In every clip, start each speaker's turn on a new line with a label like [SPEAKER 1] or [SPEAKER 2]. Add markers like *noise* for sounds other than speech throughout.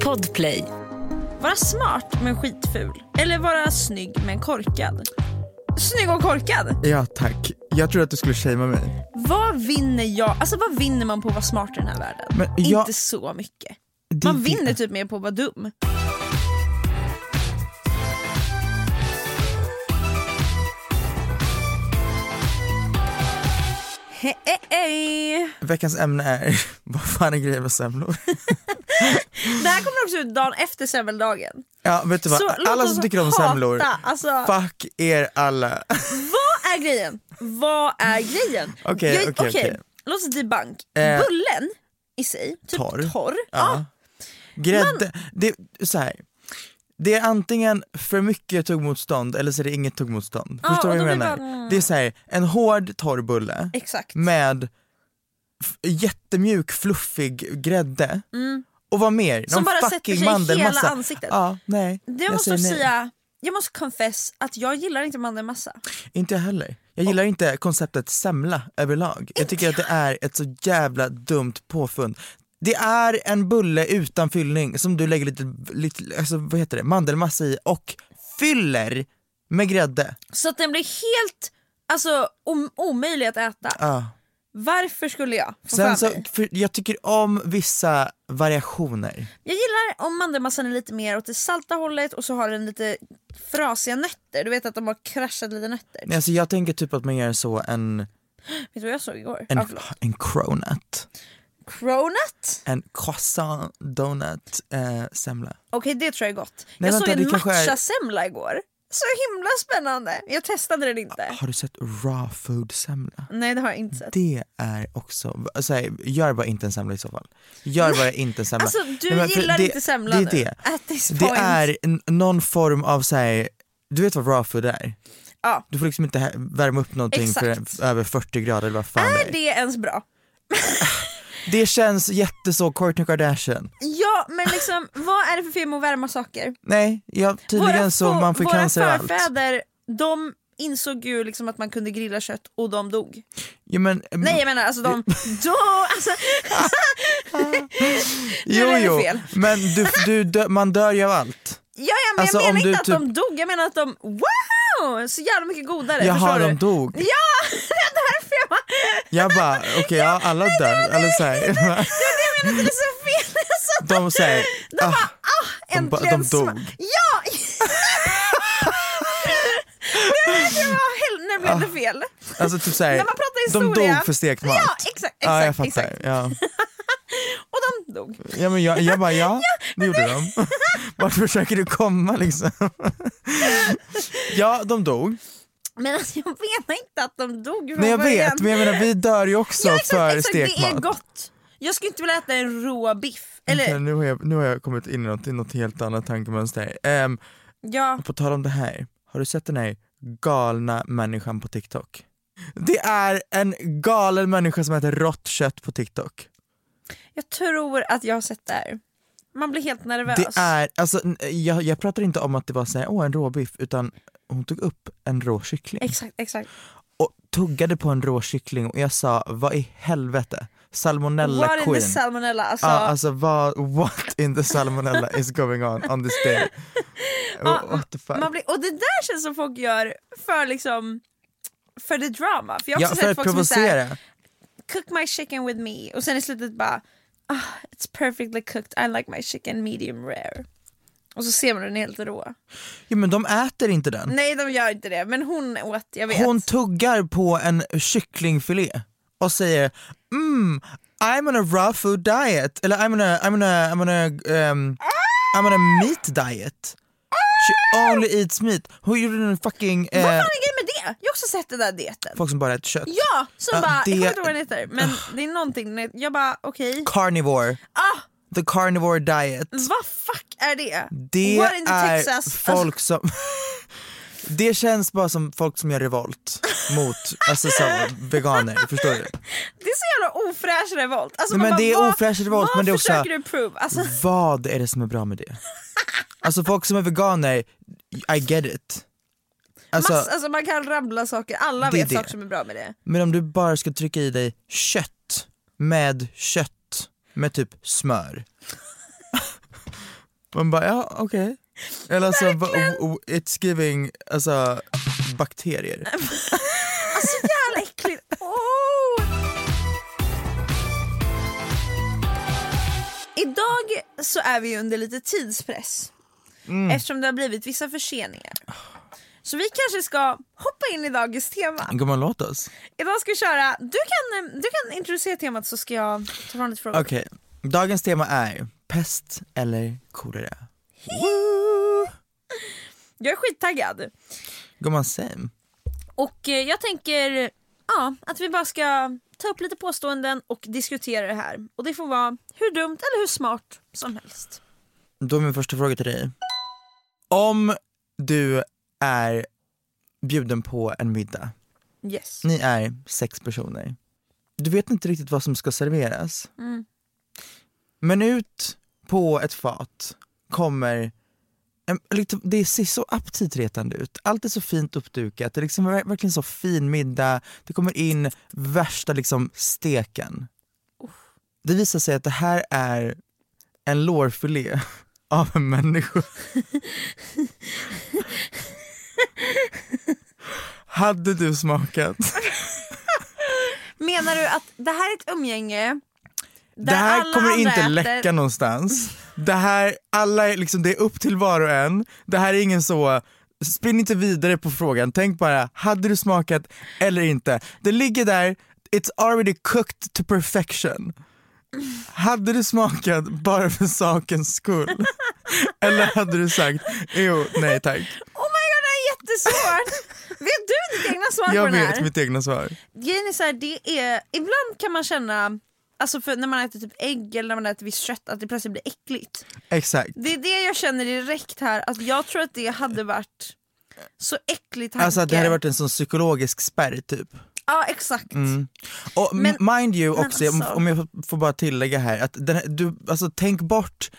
[SPEAKER 1] Podplay.
[SPEAKER 2] Vara smart men skitful. Eller vara snygg men korkad. Snygg och korkad!
[SPEAKER 3] Ja tack. Jag trodde att du skulle shamea mig.
[SPEAKER 2] Vad vinner jag? Alltså vad vinner man på att vara smart i den här världen?
[SPEAKER 3] Men jag-
[SPEAKER 2] Inte så mycket.
[SPEAKER 3] Det-
[SPEAKER 2] Man vinner typ mer på att vara dum. Hej! hej.
[SPEAKER 3] Veckans ämne är *laughs* vad fan är grejer med semlor? *laughs*
[SPEAKER 2] Det här kommer också ut dagen efter semmeldagen.
[SPEAKER 3] Ja vet du vad,
[SPEAKER 2] Så låt
[SPEAKER 3] alla
[SPEAKER 2] oss
[SPEAKER 3] som tycker om
[SPEAKER 2] hata,
[SPEAKER 3] semlor,
[SPEAKER 2] alltså-
[SPEAKER 3] fuck er alla.
[SPEAKER 2] Vad är grejen? Vad är grejen?
[SPEAKER 3] Okej,
[SPEAKER 2] Jag-
[SPEAKER 3] okej, okej.
[SPEAKER 2] Låt oss debunk.
[SPEAKER 3] Eh,
[SPEAKER 2] Bullen i sig, typ
[SPEAKER 3] torr.
[SPEAKER 2] torr. Ah.
[SPEAKER 3] Ja.
[SPEAKER 2] Ja.
[SPEAKER 3] Grädde, det, så här. det är antingen för mycket tuggmotstånd eller så är det inget tuggmotstånd.
[SPEAKER 2] Ja,
[SPEAKER 3] Förstår du
[SPEAKER 2] Ah, och
[SPEAKER 3] vad jag
[SPEAKER 2] då blir
[SPEAKER 3] menar?
[SPEAKER 2] det bara-
[SPEAKER 3] Det är så här, en hård torr bulle
[SPEAKER 2] Exakt.
[SPEAKER 3] med f- jättemjuk fluffig grädde och vad mer?
[SPEAKER 2] Mm. Som bara sätter sig i hela
[SPEAKER 3] mandelmassa.
[SPEAKER 2] ansiktet.
[SPEAKER 3] Ja, nej.
[SPEAKER 2] Det
[SPEAKER 3] jag
[SPEAKER 2] måste
[SPEAKER 3] säger
[SPEAKER 2] jag
[SPEAKER 3] nej.
[SPEAKER 2] säga, jag måste confess att jag gillar inte mandelmassa.
[SPEAKER 3] Inte jag heller. Jag gillar inte konceptet semla överlag. Jag tycker att det är ett så jävla dumt påfund. Det är en bulle utan fyllning som du lägger lite, lite alltså, vad heter det, mandelmassa i och fyller med grädde.
[SPEAKER 2] Så att den blir helt alltså, om, omöjlig att äta.
[SPEAKER 3] Ja.
[SPEAKER 2] Varför skulle jag få
[SPEAKER 3] Sen
[SPEAKER 2] för
[SPEAKER 3] så,
[SPEAKER 2] mig?
[SPEAKER 3] för jag tycker om vissa variationer.
[SPEAKER 2] Jag gillar om mandelmassan är lite mer åt det salta hållet och så har den lite frasiga nötter. Du vet att de har kraschat lite nötter.
[SPEAKER 3] Nej, Alltså, jag tänker typ att man gör så en,
[SPEAKER 2] Vet du vad jag såg igår?
[SPEAKER 3] en,
[SPEAKER 2] Ja, förlåt.
[SPEAKER 3] en cronut,
[SPEAKER 2] Cronut?
[SPEAKER 3] en croissant donut eh, semla.
[SPEAKER 2] Okej det tror jag är gott.
[SPEAKER 3] Nej,
[SPEAKER 2] jag
[SPEAKER 3] vänta,
[SPEAKER 2] såg
[SPEAKER 3] det
[SPEAKER 2] en
[SPEAKER 3] kanske är-
[SPEAKER 2] matchasemla igår. Så himla spännande. Jag testade den inte.
[SPEAKER 3] Har du sett raw food semla?
[SPEAKER 2] Nej det har jag inte sett.
[SPEAKER 3] Ah. Det är också, så här, gör bara inte en semla i så fall. Gör bara inte en semla.
[SPEAKER 2] Alltså du
[SPEAKER 3] Nej, men för
[SPEAKER 2] gillar
[SPEAKER 3] det-
[SPEAKER 2] inte semla
[SPEAKER 3] det är
[SPEAKER 2] nu.
[SPEAKER 3] Det.
[SPEAKER 2] At this point.
[SPEAKER 3] det är n- någon form av så här, du vet vad raw food är?
[SPEAKER 2] Ja.
[SPEAKER 3] Du får liksom inte hä- värma upp någonting
[SPEAKER 2] Exakt.
[SPEAKER 3] för över 40 grader eller vad fan det
[SPEAKER 2] Är
[SPEAKER 3] är.
[SPEAKER 2] det ens bra?
[SPEAKER 3] Det känns jätteså Kourtney Kardashian.
[SPEAKER 2] Ja men
[SPEAKER 3] *laughs*
[SPEAKER 2] liksom vad är det för fel med att värma saker?
[SPEAKER 3] Nej, ja, tydligen så
[SPEAKER 2] få-
[SPEAKER 3] man får
[SPEAKER 2] våra
[SPEAKER 3] cancer av allt.
[SPEAKER 2] förfäder de insåg ju liksom att man kunde grilla kött och de dog.
[SPEAKER 3] Ja, men,
[SPEAKER 2] Nej jag menar alltså de,
[SPEAKER 3] Mm.
[SPEAKER 2] *laughs* de
[SPEAKER 3] *laughs*
[SPEAKER 2] alltså,
[SPEAKER 3] jo,
[SPEAKER 2] är det
[SPEAKER 3] jo,
[SPEAKER 2] fel.
[SPEAKER 3] men du, du, dö, man dör ju av allt.
[SPEAKER 2] ja, ja, men
[SPEAKER 3] Alltså, om
[SPEAKER 2] jag menar
[SPEAKER 3] du
[SPEAKER 2] inte att
[SPEAKER 3] typ-
[SPEAKER 2] de dog, jag menar att de wow! Så jävla mycket godare,
[SPEAKER 3] Jaha,
[SPEAKER 2] Eh, förstår
[SPEAKER 3] de
[SPEAKER 2] du?
[SPEAKER 3] dog.
[SPEAKER 2] Ja, det är därför jag bara,
[SPEAKER 3] Jag bara, okej, ja, alla dör. Alla så här, *laughs*
[SPEAKER 2] jag menar att det är så fel när jag sa
[SPEAKER 3] de säger,
[SPEAKER 2] De
[SPEAKER 3] ah,
[SPEAKER 2] bara ah,
[SPEAKER 3] de ba-
[SPEAKER 2] äntligen
[SPEAKER 3] de dog.
[SPEAKER 2] sma- Ja! det här var hel- nu blev det fel.
[SPEAKER 3] Alltså typ såhär,
[SPEAKER 2] När man pratar
[SPEAKER 3] de
[SPEAKER 2] historia-
[SPEAKER 3] dog för stekt mat.
[SPEAKER 2] Ja, exakt,
[SPEAKER 3] ja jag
[SPEAKER 2] exakt,
[SPEAKER 3] fattar.
[SPEAKER 2] exakt.
[SPEAKER 3] Ja.
[SPEAKER 2] Och de dog.
[SPEAKER 3] Ja, men jag, jag
[SPEAKER 2] *laughs*
[SPEAKER 3] bara, ja, det gjorde de. *laughs* Vart försöker du
[SPEAKER 2] *laughs*
[SPEAKER 3] komma liksom? Ja, de dog.
[SPEAKER 2] Men alltså, jag menar inte att de dog från
[SPEAKER 3] Nej jag
[SPEAKER 2] början.
[SPEAKER 3] vet, men jag menar vi dör ju också
[SPEAKER 2] ja, exakt,
[SPEAKER 3] för
[SPEAKER 2] exakt,
[SPEAKER 3] stekt
[SPEAKER 2] Det är
[SPEAKER 3] mat.
[SPEAKER 2] gott. Jag skulle inte vilja äta en rå biff. Eller
[SPEAKER 3] Vänta, Nu har, jag, nu har jag kommit in i något, i något helt annat tankemönster. Um,
[SPEAKER 2] ja,
[SPEAKER 3] på tal om det här, har du sett den här galna människan på TikTok? Det är en galen människa som äter rått kött på TikTok.
[SPEAKER 2] Jag tror att jag har sett det här. Man blir helt nervös.
[SPEAKER 3] Det är, alltså, n- jag, jag pratar inte om att det var så här, åh en råbiff, utan hon tog upp en rå kyckling
[SPEAKER 2] Exakt, exakt.
[SPEAKER 3] och tuggade på en rå kyckling och jag sa, vad i helvete? Salmonella
[SPEAKER 2] What in
[SPEAKER 3] queen.
[SPEAKER 2] the salmonella? Alltså,
[SPEAKER 3] Ja, alltså vad, what in the salmonella is going on on this
[SPEAKER 2] *laughs*
[SPEAKER 3] day? What the fuck?
[SPEAKER 2] man blir, och det där känns som folk gör för liksom för the drama. För jag har
[SPEAKER 3] Ja,
[SPEAKER 2] också
[SPEAKER 3] för
[SPEAKER 2] sett
[SPEAKER 3] att
[SPEAKER 2] folk som är såhär,
[SPEAKER 3] provocera.
[SPEAKER 2] cook my chicken with me och sen i slutet bara ah, it's perfectly cooked, I like my chicken medium rare. Och så ser man den helt rå.
[SPEAKER 3] Ja, men de äter inte den.
[SPEAKER 2] Nej de gör inte det men hon åt, jag vet.
[SPEAKER 3] Hon tuggar på en kycklingfilé och säger mm, I'm on a raw food diet, eller I'm on a, I'm on a, I'm on a, ehm, I'm on a meat diet. She only eats meat. Hon gjorde en fucking, eh,
[SPEAKER 2] Vad fan är grejen med det? Jag har också sett den där dieten.
[SPEAKER 3] folk som bara äter kött.
[SPEAKER 2] Ja! Som
[SPEAKER 3] Ja,
[SPEAKER 2] bara,
[SPEAKER 3] det- Ah.
[SPEAKER 2] jag kommer inte ihåg vad den heter men det är någonting, jag bara okej.
[SPEAKER 3] Carnivore.
[SPEAKER 2] Ah,
[SPEAKER 3] The carnivore diet.
[SPEAKER 2] vad fuck är det?
[SPEAKER 3] Det
[SPEAKER 2] What in
[SPEAKER 3] är
[SPEAKER 2] Texas? Alltså,
[SPEAKER 3] folk som... *laughs* det känns bara som folk som gör revolt mot, alltså som veganer, förstår du?
[SPEAKER 2] Det är så jävla ofräsch revolt. Alltså
[SPEAKER 3] Nej,
[SPEAKER 2] man
[SPEAKER 3] men
[SPEAKER 2] bara,
[SPEAKER 3] det är
[SPEAKER 2] vad-
[SPEAKER 3] ofräsch revolt,
[SPEAKER 2] vad
[SPEAKER 3] men det är också- Mm.
[SPEAKER 2] försöker du prove? Alltså,
[SPEAKER 3] Vad är det som är bra med det? Alltså folk som är veganer, I get it. Alltså,
[SPEAKER 2] mass, alltså man kan rabbla saker, alla
[SPEAKER 3] Det är
[SPEAKER 2] vet
[SPEAKER 3] det.
[SPEAKER 2] saker som är bra med det.
[SPEAKER 3] Men om du bara ska trycka i dig kött med kött med typ smör. *laughs* Man bara, ja okej. Eller alltså, va- o- o- it's giving alltså, bakterier.
[SPEAKER 2] Alltså jävla
[SPEAKER 3] *laughs*
[SPEAKER 2] äckligt. Oh! Idag så är vi ju under lite tidspress
[SPEAKER 3] Mm.
[SPEAKER 2] eftersom det har blivit vissa förseningar. Så vi kanske ska hoppa in i dagens tema.
[SPEAKER 3] Gumman låt oss.
[SPEAKER 2] Idag ska vi köra, du kan, du kan introducera temat så ska jag ta fram lite frågor.
[SPEAKER 3] Okej, dagens tema är pest eller kolera.
[SPEAKER 2] Jag är skittaggad.
[SPEAKER 3] Gumman same.
[SPEAKER 2] Och eh, jag tänker ja, att vi bara ska ta upp lite påståenden och diskutera det här. Och det får vara hur dumt eller hur smart som helst.
[SPEAKER 3] Då är min första fråga till dig. Om du är bjuden på en middag,
[SPEAKER 2] Yes.
[SPEAKER 3] ni är sex personer. Du vet inte riktigt vad som ska serveras. Men ut på ett fat kommer en- liksom, det ser så aptitretande ut. Allt är så fint uppdukat, det är liksom ver- verkligen så fin middag. Det kommer in värsta liksom steken. Det visar sig att det här är en lårfilé *laughs* av en människa. Hade du smakat?
[SPEAKER 2] Menar du att det här är ett umgänge där
[SPEAKER 3] det här
[SPEAKER 2] alla
[SPEAKER 3] kommer
[SPEAKER 2] andra
[SPEAKER 3] inte
[SPEAKER 2] äter...
[SPEAKER 3] läcka någonstans. Det här, alla är liksom, det är upp till var och en. Det här är ingen så, spinn inte vidare på frågan. Tänk bara, hade du smakat eller inte? Det ligger där, it's already cooked to perfection. Hade du smakat bara för
[SPEAKER 2] *laughs*
[SPEAKER 3] sakens skull? Eller hade du sagt, jo, nej tack.
[SPEAKER 2] Oh my god, det här är
[SPEAKER 3] *laughs*
[SPEAKER 2] jättesvårt! vet du ditt egna svar
[SPEAKER 3] Jag
[SPEAKER 2] på den
[SPEAKER 3] vet
[SPEAKER 2] här?
[SPEAKER 3] mitt egna svar.
[SPEAKER 2] Grejen är så här, det är... Ibland kan man känna, alltså för när man äter typ ägg eller när man äter visst kött, att det plötsligt blir äckligt.
[SPEAKER 3] Exakt.
[SPEAKER 2] Det är det jag känner direkt här, att jag tror att det hade varit så äcklig tanke.
[SPEAKER 3] Alltså att det hade varit en sån psykologisk spärr typ.
[SPEAKER 2] Ja exakt.
[SPEAKER 3] Mm. Och
[SPEAKER 2] Men-
[SPEAKER 3] mind you
[SPEAKER 2] men
[SPEAKER 3] också, jag-
[SPEAKER 2] alltså-
[SPEAKER 3] om jag får- får bara tillägga här, att den, här- du, alltså, tänk bort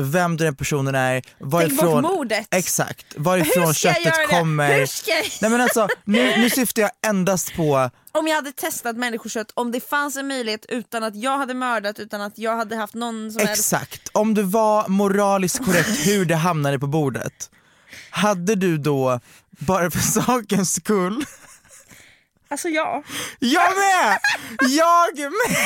[SPEAKER 3] vem den här personen är, varifrån,
[SPEAKER 2] mordet.
[SPEAKER 3] Exakt, varifrån
[SPEAKER 2] Hur ska jag
[SPEAKER 3] köttet
[SPEAKER 2] göra det?
[SPEAKER 3] kommer.
[SPEAKER 2] Hur ska jag-
[SPEAKER 3] Nej men alltså, nu, nu syftar jag endast
[SPEAKER 2] *laughs*
[SPEAKER 3] på,
[SPEAKER 2] Om jag hade testat människokött, om det fanns en möjlighet utan att jag hade mördat, utan att jag hade haft någon som helst...
[SPEAKER 3] exakt, om du var
[SPEAKER 2] *laughs*
[SPEAKER 3] moraliskt korrekt hur det hamnade på bordet, hade du då, bara för sakens skull,
[SPEAKER 2] Alltså ja.
[SPEAKER 3] jag med! Jag med!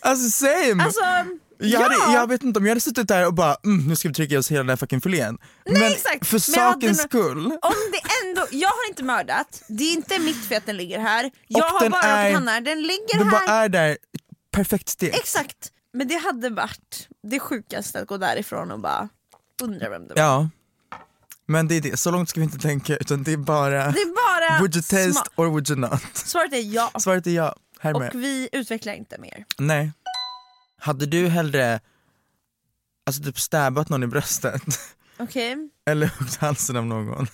[SPEAKER 3] Alltså same!
[SPEAKER 2] Alltså,
[SPEAKER 3] Jag,
[SPEAKER 2] ja.
[SPEAKER 3] hade, jag vet inte om jag hade suttit där och bara mm, nu ska vi trycka i oss hela den här fucking filén. men
[SPEAKER 2] exakt.
[SPEAKER 3] för
[SPEAKER 2] Men jag hade
[SPEAKER 3] sakens
[SPEAKER 2] nog-
[SPEAKER 3] skull.
[SPEAKER 2] Om det ändå, jag har inte mördat, det är inte mitt fel att den ligger här. Jag
[SPEAKER 3] Och
[SPEAKER 2] har
[SPEAKER 3] den
[SPEAKER 2] bara
[SPEAKER 3] är-
[SPEAKER 2] råkat hamna här, den ligger
[SPEAKER 3] Du
[SPEAKER 2] här.
[SPEAKER 3] bara är där, perfekt steg.
[SPEAKER 2] Exakt. Men det hade varit det sjukaste att gå därifrån och bara undra vem det var.
[SPEAKER 3] Ja. Men det är det, så långt ska vi inte tänka utan det är bara,
[SPEAKER 2] Det är bara
[SPEAKER 3] would you taste
[SPEAKER 2] smak.
[SPEAKER 3] or would you not?
[SPEAKER 2] Svaret är ja.
[SPEAKER 3] Svaret är ja, här med.
[SPEAKER 2] Och vi utvecklar inte mer.
[SPEAKER 3] Nej. Hade du hellre alltså typ stäbat någon i bröstet *laughs*
[SPEAKER 2] Okej.
[SPEAKER 3] Eller huggit halsen av *laughs* någon.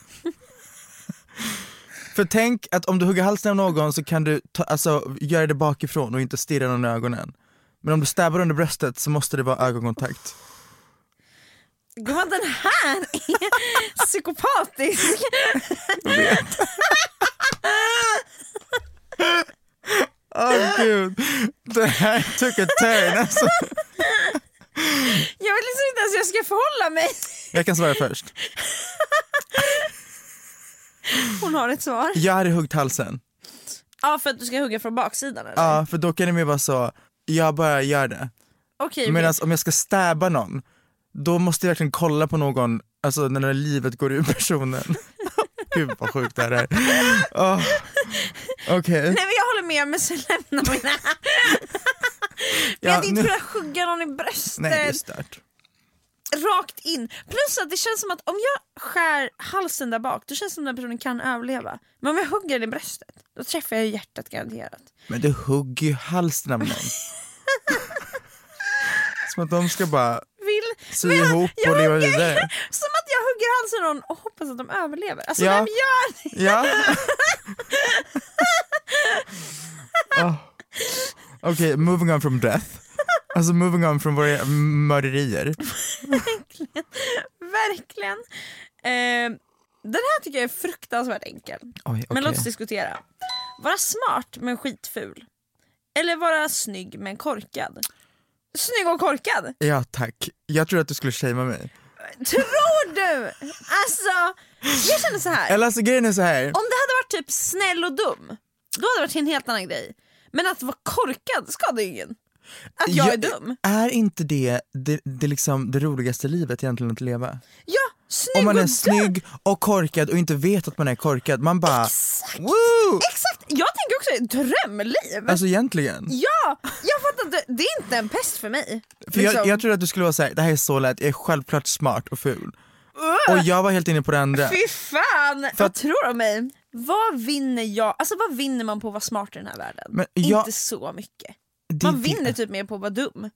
[SPEAKER 3] För tänk att om du hugger halsen av någon så kan du ta, alltså, göra det bakifrån och inte stirra någon i ögonen. Men om du stäbar under bröstet så måste det vara ögonkontakt.
[SPEAKER 2] Gumman den här är psykopatisk.
[SPEAKER 3] Åh gud, *laughs* det här took a turn alltså.
[SPEAKER 2] Jag vet liksom inte ens hur jag ska förhålla mig.
[SPEAKER 3] Jag kan svara först.
[SPEAKER 2] Hon har ett svar.
[SPEAKER 3] Jag hade huggit halsen.
[SPEAKER 2] Ja för att du ska hugga från baksidan eller?
[SPEAKER 3] Ja, för då kan det mer vara så, jag bara gör det.
[SPEAKER 2] Okej, okej.
[SPEAKER 3] Medan om jag ska stäba någon, då måste jag verkligen kolla på någon, alltså när det här livet går ur personen. *laughs* Gud vad sjukt det här är. Åh, Okej.
[SPEAKER 2] Nej men jag håller med men så lämnar vi det här. Men
[SPEAKER 3] Ja,
[SPEAKER 2] att inte
[SPEAKER 3] nu-
[SPEAKER 2] kunna hugga någon i bröstet
[SPEAKER 3] Nej det är stört.
[SPEAKER 2] rakt in. Plus att det känns som att om jag skär halsen där bak då känns det som att den personen kan överleva. Men om jag hugger den i bröstet då träffar jag hjärtat garanterat.
[SPEAKER 3] Men du hugger ju halsen
[SPEAKER 2] *laughs*
[SPEAKER 3] av någon. Som att de ska bara
[SPEAKER 2] Vill...
[SPEAKER 3] sy
[SPEAKER 2] men jag-
[SPEAKER 3] ihop
[SPEAKER 2] jag
[SPEAKER 3] och leva
[SPEAKER 2] hugger-
[SPEAKER 3] vidare.
[SPEAKER 2] *laughs* Som att jag hugger halsen av någon och hoppas att de överlever. Alltså
[SPEAKER 3] Ja.
[SPEAKER 2] vem gör det? *laughs*
[SPEAKER 3] Ja. oh. Okej, moving on from death. Alltså moving on från våra mörderier.
[SPEAKER 2] Verkligen. Eh, den här tycker jag är fruktansvärt enkel.
[SPEAKER 3] Oj,
[SPEAKER 2] Men
[SPEAKER 3] okej.
[SPEAKER 2] låt oss diskutera. Vara smart men skitful. Eller vara snygg men korkad. Snygg och korkad?
[SPEAKER 3] Ja tack, jag trodde att du skulle shamea mig.
[SPEAKER 2] Tror du? Alltså, jag känner så här.
[SPEAKER 3] Eller alltså grejen är så här.
[SPEAKER 2] Om det hade varit typ snäll och dum, då hade det varit en helt annan grej. Men att vara korkad skadar ju ingen. Att jag, är dum.
[SPEAKER 3] Är inte det det, det, liksom det roligaste livet egentligen att leva?
[SPEAKER 2] Ja, snygg
[SPEAKER 3] Om man
[SPEAKER 2] och
[SPEAKER 3] är
[SPEAKER 2] dum.
[SPEAKER 3] snygg och korkad och inte vet att man är korkad, man bara woo!
[SPEAKER 2] Exakt, jag tänker också drömliv.
[SPEAKER 3] Alltså egentligen.
[SPEAKER 2] Ja, jag fattar inte. Det är inte en pest för mig. Liksom.
[SPEAKER 3] För jag, jag trodde att du skulle vara såhär, det här är så lätt, jag är självklart smart och ful. Och jag var helt inne på det andra.
[SPEAKER 2] Fy fan, vad
[SPEAKER 3] att-
[SPEAKER 2] tror du om mig? Vad vinner jag? Alltså vad vinner man på att vara smart i den här världen?
[SPEAKER 3] Men jag-
[SPEAKER 2] Inte så mycket.
[SPEAKER 3] Det är
[SPEAKER 2] Man
[SPEAKER 3] det-
[SPEAKER 2] vinner typ mer på att vara dum.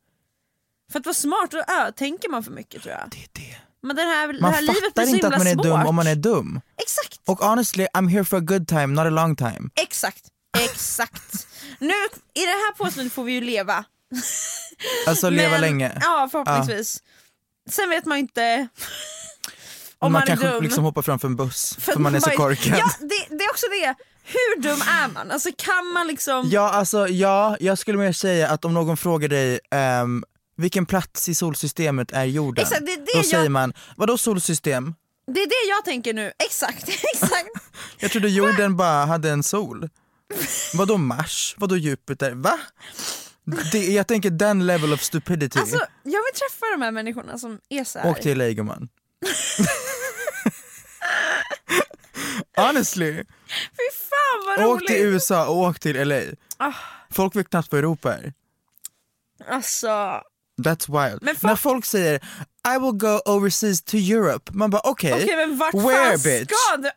[SPEAKER 2] För att vara smart, då ö, tänker man för mycket tror jag.
[SPEAKER 3] Det är det.
[SPEAKER 2] Men den här, typ det
[SPEAKER 3] Man
[SPEAKER 2] här livet
[SPEAKER 3] fattar
[SPEAKER 2] blir så
[SPEAKER 3] inte
[SPEAKER 2] himla
[SPEAKER 3] att man är
[SPEAKER 2] svårt.
[SPEAKER 3] dum om man är dum.
[SPEAKER 2] Exakt,
[SPEAKER 3] Och honestly, I'm here for a good time, not a long time.
[SPEAKER 2] exakt, exakt. nu, i det här påståendet får vi ju leva.
[SPEAKER 3] Alltså leva
[SPEAKER 2] Men-
[SPEAKER 3] länge.
[SPEAKER 2] Ja, förhoppningsvis. Sen vet man ju inte om man,
[SPEAKER 3] man
[SPEAKER 2] är
[SPEAKER 3] kanske
[SPEAKER 2] dum.
[SPEAKER 3] liksom hoppar framför en buss för,
[SPEAKER 2] att
[SPEAKER 3] man är så
[SPEAKER 2] bara-
[SPEAKER 3] korkad.
[SPEAKER 2] Ja, det, det är också det. Hur dum är man? Alltså kan man liksom...
[SPEAKER 3] Ja, alltså ja, jag skulle mer säga att om någon frågar dig ehm, vilken plats i solsystemet är jorden?
[SPEAKER 2] Exakt, det är det
[SPEAKER 3] Då
[SPEAKER 2] jag-
[SPEAKER 3] säger man, vadå solsystem?
[SPEAKER 2] Det är det jag tänker nu. Exakt, *laughs*
[SPEAKER 3] *laughs*
[SPEAKER 2] exakt.
[SPEAKER 3] Jag trodde jorden bara hade
[SPEAKER 2] *laughs*
[SPEAKER 3] en sol. vadå Mars? Vadå Jupiter? Va? Det, jag tänker den level of stupidity.
[SPEAKER 2] Alltså, jag vill träffa de här människorna som är så här.
[SPEAKER 3] Åk till LA
[SPEAKER 2] *laughs*
[SPEAKER 3] gumman. Honestly,
[SPEAKER 2] Fy fan vad
[SPEAKER 3] åk
[SPEAKER 2] roligt! Ah.
[SPEAKER 3] till USA och åk till LA. Folk vet knappt vad Europa är.
[SPEAKER 2] Alltså,
[SPEAKER 3] That's wild.
[SPEAKER 2] Men folk-
[SPEAKER 3] När folk säger I will go overseas to Europe, man bara okej,
[SPEAKER 2] okej men vart
[SPEAKER 3] where
[SPEAKER 2] fan
[SPEAKER 3] bitch?
[SPEAKER 2] ska du?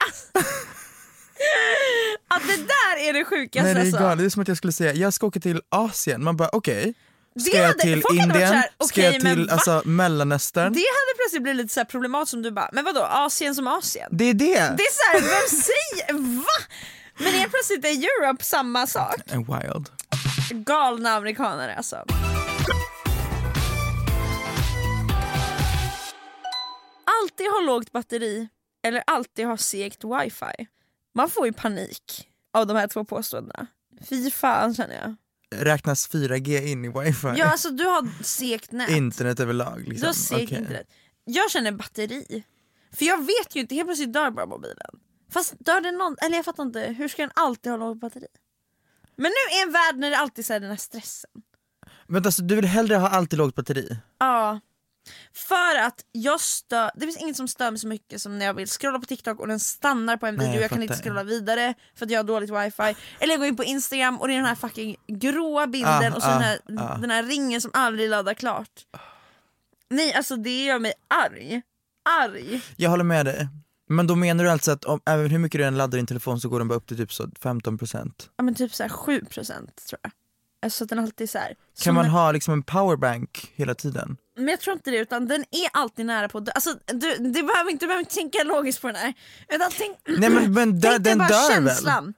[SPEAKER 2] Att det där är det sjukaste
[SPEAKER 3] Nej det är
[SPEAKER 2] alltså.
[SPEAKER 3] galet, det är som att jag skulle säga jag ska åka till Asien, man bara okej. Ska
[SPEAKER 2] Det
[SPEAKER 3] jag
[SPEAKER 2] hade-
[SPEAKER 3] till
[SPEAKER 2] folk hade varit
[SPEAKER 3] Indien?
[SPEAKER 2] så här,
[SPEAKER 3] ska
[SPEAKER 2] okej,
[SPEAKER 3] jag
[SPEAKER 2] men
[SPEAKER 3] till
[SPEAKER 2] va?
[SPEAKER 3] alltså, Mellanöstern?
[SPEAKER 2] Det
[SPEAKER 3] Det...
[SPEAKER 2] hade plötsligt blivit lite så här problematiskt som du bara, men vadå Asien som Asien?
[SPEAKER 3] är det!
[SPEAKER 2] Det är så här, vem säger, *laughs* va? Men helt plötsligt är Europe samma sak.
[SPEAKER 3] är Eh, wild.
[SPEAKER 2] Galna amerikanare alltså. Alltid ha lågt batteri eller alltid ha segt wifi. Man får ju panik av de här två påståendena. Fy fan känner jag.
[SPEAKER 3] Räknas 4G in i wifi?
[SPEAKER 2] Ja alltså du har segt nät.
[SPEAKER 3] *laughs* Internet överlag
[SPEAKER 2] du
[SPEAKER 3] liksom.
[SPEAKER 2] har segt
[SPEAKER 3] Okej.
[SPEAKER 2] internet. Jag känner batteri. För jag vet ju inte, helt plötsligt dör bara mobilen. Fast dör den någon, eller jag fattar inte, hur ska den alltid ha lågt batteri? Men nu är en värld när det alltid är så här den här stressen.
[SPEAKER 3] Vänta, så du vill hellre ha alltid lågt batteri?
[SPEAKER 2] Ja. För att jag stör, det finns inget som stör mig så mycket som när jag vill scrolla på TikTok och den stannar på en
[SPEAKER 3] Nej,
[SPEAKER 2] video jag,
[SPEAKER 3] jag
[SPEAKER 2] kan inte
[SPEAKER 3] fattar.
[SPEAKER 2] scrolla vidare för att jag har dåligt wifi. Eller jag går in på Instagram och det är den här fucking gråa bilden
[SPEAKER 3] Ah,
[SPEAKER 2] och så
[SPEAKER 3] ah,
[SPEAKER 2] den, här,
[SPEAKER 3] ah.
[SPEAKER 2] den här ringen som aldrig laddar klart. Nej alltså det gör mig arg. Arg.
[SPEAKER 3] Jag håller med dig. Men då menar du alltså att om, även hur mycket du än laddar din telefon så går den bara upp till typ så 15%?
[SPEAKER 2] Ja men typ såhär 7% tror jag. Alltså att den alltid är så här.
[SPEAKER 3] Kan
[SPEAKER 2] som
[SPEAKER 3] man
[SPEAKER 2] en-
[SPEAKER 3] ha liksom en powerbank hela tiden?
[SPEAKER 2] Men jag tror inte det utan den är alltid nära på att dö. Alltså du, det behöver inte, du behöver inte tänka logiskt på den här. Utan tänk,
[SPEAKER 3] Nej men, men dö,
[SPEAKER 2] tänk dig
[SPEAKER 3] den
[SPEAKER 2] bara
[SPEAKER 3] dör väl?
[SPEAKER 2] känslan.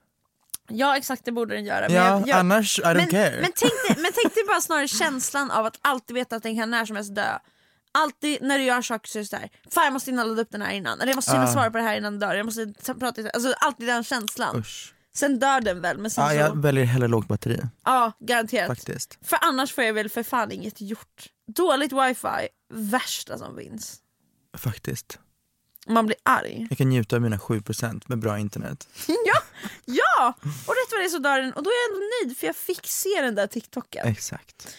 [SPEAKER 2] Ja exakt det borde den göra. men
[SPEAKER 3] Ja,
[SPEAKER 2] jag- jag-
[SPEAKER 3] annars I don't
[SPEAKER 2] men,
[SPEAKER 3] care.
[SPEAKER 2] Men tänk, dig, men tänk dig bara snarare känslan av att alltid veta att den kan när som helst dö. Alltid när du gör saker så är det såhär, fan jag måste hinna ladda upp den här innan, eller jag måste hinna svara på det här innan den dör, jag måste ta- prata, alltså alltid den känslan.
[SPEAKER 3] Usch.
[SPEAKER 2] Sen dör den väl, men sen
[SPEAKER 3] Ja,
[SPEAKER 2] så,
[SPEAKER 3] jag väljer hellre lågt batteri
[SPEAKER 2] ja garanterat.
[SPEAKER 3] faktiskt.
[SPEAKER 2] För annars får jag väl för fan inget gjort. Dåligt wifi, värsta som finns.
[SPEAKER 3] Faktiskt.
[SPEAKER 2] Man blir arg.
[SPEAKER 3] Jag kan njuta av mina 7% med bra internet.
[SPEAKER 2] ja, ja! Och rätt vad det är så dör den och då är jag ändå nöjd för jag fick se den där
[SPEAKER 3] Eh.
[SPEAKER 2] TikToken.
[SPEAKER 3] Exakt.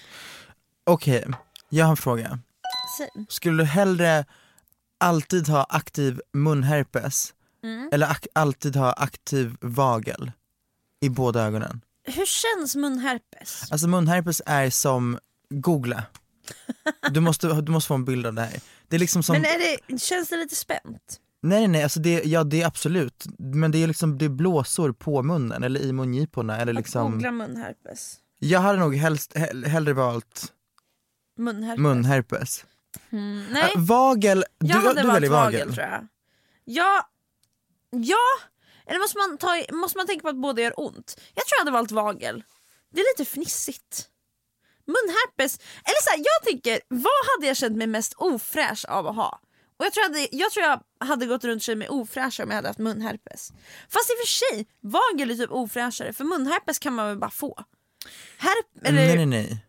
[SPEAKER 3] Okej, jag har en fråga.
[SPEAKER 2] Säg.
[SPEAKER 3] Skulle du hellre alltid ha aktiv munherpes
[SPEAKER 2] Mm.
[SPEAKER 3] eller ak- alltid ha aktiv vagel i båda ögonen?
[SPEAKER 2] Hur känns munherpes?
[SPEAKER 3] Alltså munherpes är som, googla. Du måste, du måste få en bild av det här. Det är liksom som,
[SPEAKER 2] Men är det, känns det lite spänt?
[SPEAKER 3] nej nej nej, alltså det, ja det är absolut, men det är liksom det är blåsor på munnen eller i mungiporna eller
[SPEAKER 2] Att
[SPEAKER 3] liksom.
[SPEAKER 2] googla munherpes.
[SPEAKER 3] Jag hade nog helst, hell- hellre valt
[SPEAKER 2] Munherpes.
[SPEAKER 3] munherpes.
[SPEAKER 2] Nej,
[SPEAKER 3] Äh, vagel, du,
[SPEAKER 2] jag hade
[SPEAKER 3] du
[SPEAKER 2] valt
[SPEAKER 3] väljer
[SPEAKER 2] vagel,
[SPEAKER 3] vagel.
[SPEAKER 2] tror jag. Ja, ja. Eller måste man, ta, i- måste man tänka på att båda gör ont? Jag tror jag hade valt vagel. Det är lite fnissigt. Munherpes. Eller så här, jag tänker, vad hade jag känt mig mest ofräsch av att ha? Och jag tror jag, hade, jag tror jag hade gått runt och känt mig ofräsch om jag hade haft munherpes. Fast i och för sig, vagel är typ ofräschare för munherpes kan man väl bara få? Herp, eller,
[SPEAKER 3] Nej nej nej,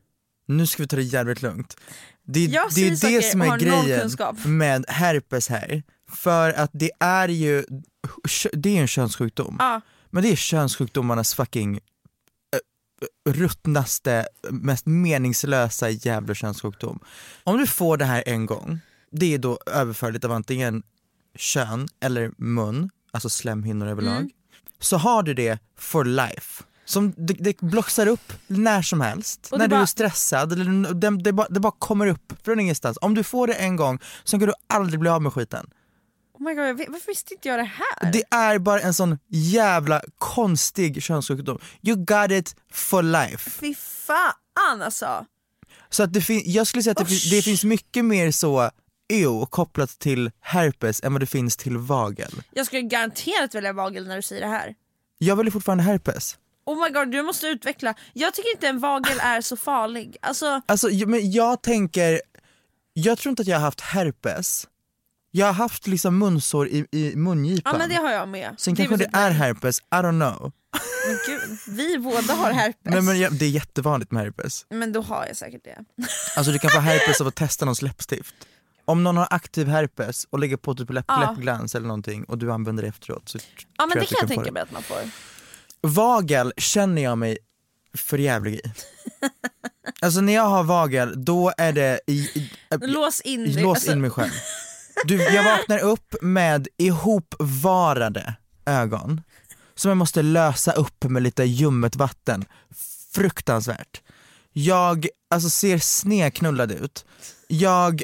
[SPEAKER 3] nu ska vi ta det jävligt lugnt. Det, är-
[SPEAKER 2] Jag
[SPEAKER 3] det
[SPEAKER 2] säger saker
[SPEAKER 3] är det som
[SPEAKER 2] och
[SPEAKER 3] är
[SPEAKER 2] har noll
[SPEAKER 3] grejen
[SPEAKER 2] kunskap.
[SPEAKER 3] med herpes här, för att det är ju, det är ju en könssjukdom.
[SPEAKER 2] Ja.
[SPEAKER 3] Men det är könssjukdomarnas fucking eh, ruttnaste, mest meningslösa jävla könssjukdom. Om du får det här en gång, det är då överförligt av antingen kön eller mun, alltså slemhinnor överlag,
[SPEAKER 2] Mm.
[SPEAKER 3] så har du det for life. Som det, det blossar upp när som helst,
[SPEAKER 2] Och det
[SPEAKER 3] när du
[SPEAKER 2] bara-
[SPEAKER 3] är stressad, eller n- det, det, bara, det bara kommer upp från ingenstans. Om du får det en gång, så kan du aldrig bli av med skiten.
[SPEAKER 2] oh my God, jag vet- varför visste inte jag det här?
[SPEAKER 3] Det är bara en sån jävla konstig könssjukdom. You got it for life.
[SPEAKER 2] Fy fan alltså!
[SPEAKER 3] Så att det fin- jag skulle säga att det, fin-
[SPEAKER 2] Usch.
[SPEAKER 3] det finns mycket mer så ew kopplat till herpes än vad det finns till vagel.
[SPEAKER 2] Jag skulle garanterat välja vagel när du säger det här.
[SPEAKER 3] Jag väljer fortfarande herpes.
[SPEAKER 2] Oh my god, du måste utveckla. Jag tycker inte en vagel
[SPEAKER 3] Ah.
[SPEAKER 2] är så farlig. Alltså,
[SPEAKER 3] Alltså j- men jag tänker, jag tror inte att jag har haft herpes. Jag har haft liksom munsår i, i mungipan.
[SPEAKER 2] ja men det har jag med.
[SPEAKER 3] Sen
[SPEAKER 2] det
[SPEAKER 3] kanske det
[SPEAKER 2] väl- typ-
[SPEAKER 3] är herpes, I don't know.
[SPEAKER 2] Men gud, vi båda har herpes.
[SPEAKER 3] Nej, men
[SPEAKER 2] men,
[SPEAKER 3] jag, det är jättevanligt med herpes.
[SPEAKER 2] då har jag säkert
[SPEAKER 3] *laughs*
[SPEAKER 2] det.
[SPEAKER 3] Alltså du kan få herpes av att testa någons läppstift. Om någon har aktiv herpes och lägger på typ läpp,
[SPEAKER 2] Ja.
[SPEAKER 3] läppglans eller någonting och du använder det efteråt så
[SPEAKER 2] Ja men
[SPEAKER 3] tror
[SPEAKER 2] det kan jag
[SPEAKER 3] du få
[SPEAKER 2] tänka mig att man får.
[SPEAKER 3] Vagel känner jag mig
[SPEAKER 2] *laughs*
[SPEAKER 3] för jävlig i. Alltså när jag har vagel då är det i, i,
[SPEAKER 2] Lås in dig.
[SPEAKER 3] lås
[SPEAKER 2] Alltså,
[SPEAKER 3] in mig själv. Du, jag vaknar upp med ihopvarade ögon som jag måste lösa upp med lite ljummet vatten. Fruktansvärt. Jag alltså, ser sneknullad ut. Jag,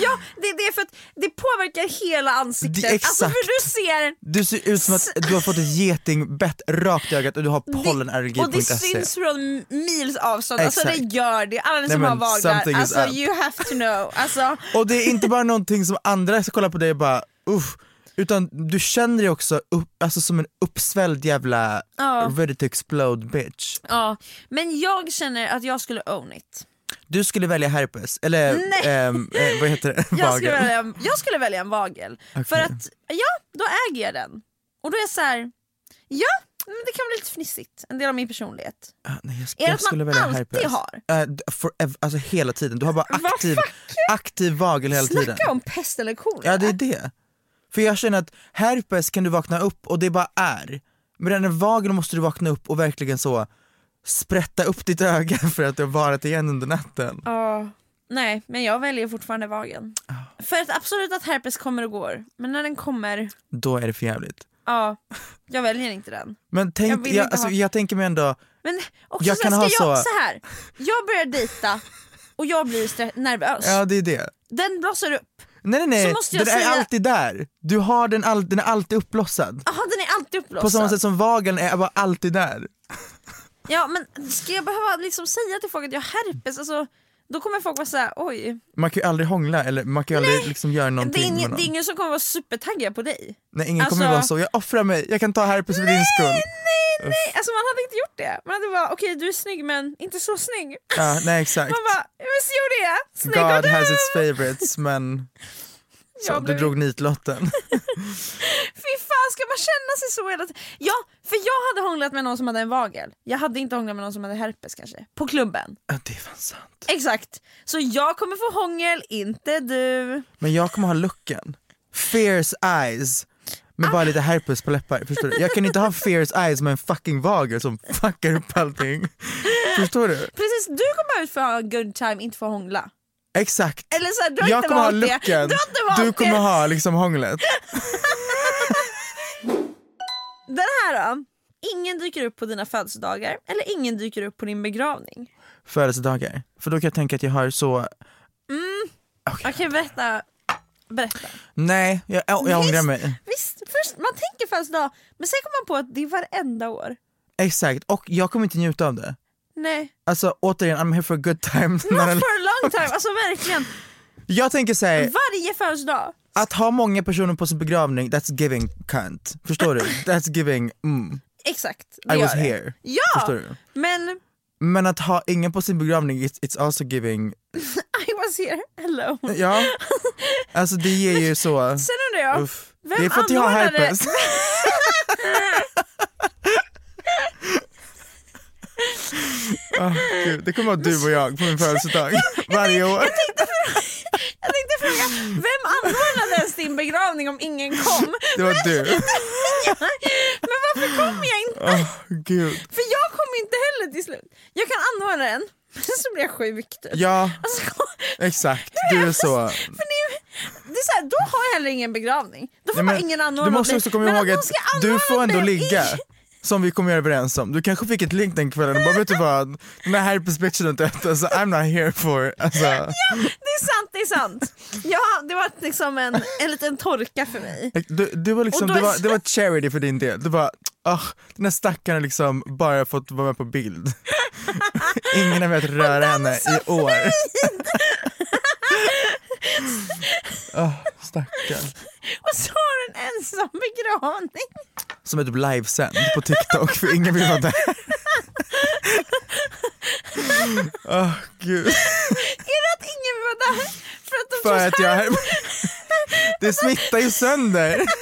[SPEAKER 2] Ja, det, det är för att det påverkar hela ansiktet.
[SPEAKER 3] Det-
[SPEAKER 2] alltså
[SPEAKER 3] exakt.
[SPEAKER 2] för du ser
[SPEAKER 3] du ser ut som att du har fått ett getingbett rakt i ögat och du har
[SPEAKER 2] det-
[SPEAKER 3] pollenallergi på
[SPEAKER 2] Och det
[SPEAKER 3] ditt SE.
[SPEAKER 2] syns från mils avstånd. Alltså det
[SPEAKER 3] Exakt.
[SPEAKER 2] gör det. Alla ni som
[SPEAKER 3] Nej,
[SPEAKER 2] har
[SPEAKER 3] men something
[SPEAKER 2] vaglar,
[SPEAKER 3] is
[SPEAKER 2] alltså
[SPEAKER 3] up.
[SPEAKER 2] you have to know. Alltså,
[SPEAKER 3] Och det är inte bara någonting som andra ska kolla på dig och bara uff. Utan du känner dig också upp, alltså som en uppsvälld jävla ready to explode bitch.
[SPEAKER 2] ja. Men jag känner att jag skulle own it.
[SPEAKER 3] Du skulle välja herpes, eller
[SPEAKER 2] Nej.
[SPEAKER 3] ehm, eh, vad heter det?
[SPEAKER 2] *laughs* Jag skulle,
[SPEAKER 3] Vagel.
[SPEAKER 2] välja en, jag skulle välja en vagel. För att, ja, då äger jag den. Och då är jag så här, ja, men det kan bli lite fnissigt. En del av min personlighet.
[SPEAKER 3] Ah, Nej, jag, sk-
[SPEAKER 2] Är det
[SPEAKER 3] jag
[SPEAKER 2] att
[SPEAKER 3] skulle
[SPEAKER 2] man
[SPEAKER 3] välja
[SPEAKER 2] alltid
[SPEAKER 3] herpes.
[SPEAKER 2] har?
[SPEAKER 3] Eh, d- forever, alltså hela tiden, du har bara
[SPEAKER 2] Vad
[SPEAKER 3] aktiv,
[SPEAKER 2] fuck?
[SPEAKER 3] aktiv vagel hela tiden.
[SPEAKER 2] Snacka om pest eller kolera.
[SPEAKER 3] Ja det är det. För jag känner att herpes kan du vakna upp och det bara är. Medan en vagel måste du vakna upp och verkligen så sprätta upp ditt öga *laughs* för att du har varit igen under natten.
[SPEAKER 2] Ja. Nej, men jag väljer fortfarande vageln. För att absolut att herpes kommer och går, men när den kommer,
[SPEAKER 3] Då är det för jävligt.
[SPEAKER 2] ja, jag väljer inte den.
[SPEAKER 3] Men
[SPEAKER 2] Jag
[SPEAKER 3] tänk,
[SPEAKER 2] vill
[SPEAKER 3] jag,
[SPEAKER 2] inte
[SPEAKER 3] alltså,
[SPEAKER 2] ha-
[SPEAKER 3] jag tänker mig ändå,
[SPEAKER 2] Men också
[SPEAKER 3] Jag
[SPEAKER 2] så,
[SPEAKER 3] kan
[SPEAKER 2] här,
[SPEAKER 3] ha
[SPEAKER 2] ska jag,
[SPEAKER 3] så-
[SPEAKER 2] så... här. jag börjar dejta och jag blir stre- nervös.
[SPEAKER 3] ja det är det.
[SPEAKER 2] Den blossar upp.
[SPEAKER 3] Nej nej
[SPEAKER 2] Så
[SPEAKER 3] nej,
[SPEAKER 2] måste jag
[SPEAKER 3] den är
[SPEAKER 2] säga-
[SPEAKER 3] alltid där. Du har den, all, den är alltid uppblossad.
[SPEAKER 2] Jaha, den är alltid
[SPEAKER 3] På
[SPEAKER 2] uppblossad.
[SPEAKER 3] samma sätt som vageln är bara alltid där.
[SPEAKER 2] Ja men ska jag behöva liksom säga till folk att jag har herpes? Alltså, då kommer folk vara såhär, oj.
[SPEAKER 3] Man kan ju aldrig hångla eller man kan ju aldrig liksom göra
[SPEAKER 2] Det
[SPEAKER 3] någonting
[SPEAKER 2] är,
[SPEAKER 3] med
[SPEAKER 2] ingen,
[SPEAKER 3] någon.
[SPEAKER 2] det är ingen som kommer vara supertaggad på dig.
[SPEAKER 3] Nej ingen kommer
[SPEAKER 2] Alltså-
[SPEAKER 3] vara så, jag offrar mig, jag kan ta herpes för din skull.
[SPEAKER 2] Nej, alltså man hade inte gjort det. Man hade bara, okej du är snygg men inte så snygg.
[SPEAKER 3] Ja, nej exakt.
[SPEAKER 2] Man bara, visst gjorde jag? Snygg och
[SPEAKER 3] God
[SPEAKER 2] dum!
[SPEAKER 3] has its favorites men
[SPEAKER 2] *laughs*
[SPEAKER 3] så,
[SPEAKER 2] Jag
[SPEAKER 3] du
[SPEAKER 2] blev-
[SPEAKER 3] drog
[SPEAKER 2] *laughs*
[SPEAKER 3] nitlotten.
[SPEAKER 2] Fy fan ska man känna sig så hela tiden? Ja, för jag hade hånglat med någon som hade en vagel. Jag hade inte hånglat med någon som hade herpes kanske. På klubben.
[SPEAKER 3] Ja, det är fan sant.
[SPEAKER 2] Exakt. Så jag kommer få hångel, inte du.
[SPEAKER 3] Men jag kommer ha looken. Fierce eyes. Med
[SPEAKER 2] Ah!
[SPEAKER 3] bara lite herpes på läppar, förstår du? Jag kan
[SPEAKER 2] *laughs*
[SPEAKER 3] inte ha fierce eyes med en fucking vager som fuckar upp allting. Förstår du?
[SPEAKER 2] Precis, du kommer ut för att ha en good time, inte för att hångla.
[SPEAKER 3] Exakt.
[SPEAKER 2] Eller så här, du har
[SPEAKER 3] Jag
[SPEAKER 2] inte
[SPEAKER 3] kommer ha
[SPEAKER 2] valt det.
[SPEAKER 3] looken,
[SPEAKER 2] Du har inte valt
[SPEAKER 3] du kommer
[SPEAKER 2] det.
[SPEAKER 3] ha liksom hånglet.
[SPEAKER 2] *laughs* Den här då. Ingen dyker upp på dina födelsedagar eller ingen dyker upp på din begravning.
[SPEAKER 3] Födelsedagar. För då kan jag tänka att jag har så,
[SPEAKER 2] Okej, berätta. Berätta.
[SPEAKER 3] nej jag, jag, jag ångrar mig.
[SPEAKER 2] Visst, först, man tänker födelsedag, men sen kommer man på att det är varenda år.
[SPEAKER 3] Exakt, och jag kommer inte njuta av det. *laughs*
[SPEAKER 2] Nej,
[SPEAKER 3] Alltså återigen, I'm here for a good
[SPEAKER 2] *laughs*
[SPEAKER 3] time.
[SPEAKER 2] not for a long time. Alltså
[SPEAKER 3] *laughs*
[SPEAKER 2] verkligen.
[SPEAKER 3] Jag tänker såhär,
[SPEAKER 2] Varje födelsedag.
[SPEAKER 3] att ha många personer på sin begravning, that's giving cunt.
[SPEAKER 2] *laughs*
[SPEAKER 3] Förstår du? That's giving, mm,
[SPEAKER 2] Exakt. Det
[SPEAKER 3] I
[SPEAKER 2] gör
[SPEAKER 3] was
[SPEAKER 2] det.
[SPEAKER 3] here. Förstår
[SPEAKER 2] Ja,
[SPEAKER 3] du?
[SPEAKER 2] men
[SPEAKER 3] Men att ha ingen på sin begravning, it's, it's also giving,
[SPEAKER 2] I was here alone. *laughs*
[SPEAKER 3] ja. Alltså det ger ju så,
[SPEAKER 2] Sen undrar jag,
[SPEAKER 3] uff.
[SPEAKER 2] vem
[SPEAKER 3] det är för att jag har
[SPEAKER 2] anordnade- *laughs*
[SPEAKER 3] herpes. Åh, Gud, det kommer vara du och jag på
[SPEAKER 2] *laughs*
[SPEAKER 3] min födelsedag varje år.
[SPEAKER 2] jag tänkte fråga, vem anordnade ens din begravning om ingen kom?
[SPEAKER 3] Det var
[SPEAKER 2] *laughs*
[SPEAKER 3] du.
[SPEAKER 2] Men varför kom jag inte?
[SPEAKER 3] Åh, Gud.
[SPEAKER 2] För jag kom inte heller till slut. Jag kan anordna den, men *laughs* så blir jag sjuk typ.
[SPEAKER 3] Ja,
[SPEAKER 2] Alltså, *laughs*
[SPEAKER 3] exakt. Du är så.
[SPEAKER 2] för det, är- det är så här, då har jag heller ingen begravning. Då får
[SPEAKER 3] Nej, men
[SPEAKER 2] man ingen anordna
[SPEAKER 3] du måste
[SPEAKER 2] mig.
[SPEAKER 3] också komma
[SPEAKER 2] Men
[SPEAKER 3] ihåg
[SPEAKER 2] någon
[SPEAKER 3] att
[SPEAKER 2] ska
[SPEAKER 3] du
[SPEAKER 2] anordna
[SPEAKER 3] får ändå
[SPEAKER 2] mig
[SPEAKER 3] ligga.
[SPEAKER 2] i-
[SPEAKER 3] Som vi kom överens om. Du kanske fick ett link den kvällen och bara vet du vad, den här herpesbitchen är inte ute, alltså, I'm not here for... Alltså,
[SPEAKER 2] *laughs* Det är sant, det är sant. Ja, det var liksom en, en liten torka för mig.
[SPEAKER 3] du, du var liksom,
[SPEAKER 2] Och då
[SPEAKER 3] det,
[SPEAKER 2] är-
[SPEAKER 3] var, det var charity för din del. Du bara, ah, den här stackaren har liksom bara fått vara med på bild. *laughs* Ingen har velat röra henne i år.
[SPEAKER 2] *laughs*
[SPEAKER 3] Ah, stackarn.
[SPEAKER 2] Och så har du en ensam begravning.
[SPEAKER 3] Som är typ livesänd på TikTok för ingen vill
[SPEAKER 2] *laughs*
[SPEAKER 3] vara där. Åh gud.
[SPEAKER 2] Är det att ingen var där? För att de tror
[SPEAKER 3] För
[SPEAKER 2] så
[SPEAKER 3] att
[SPEAKER 2] här-
[SPEAKER 3] jag... Det smittar ju sönder.
[SPEAKER 2] *laughs*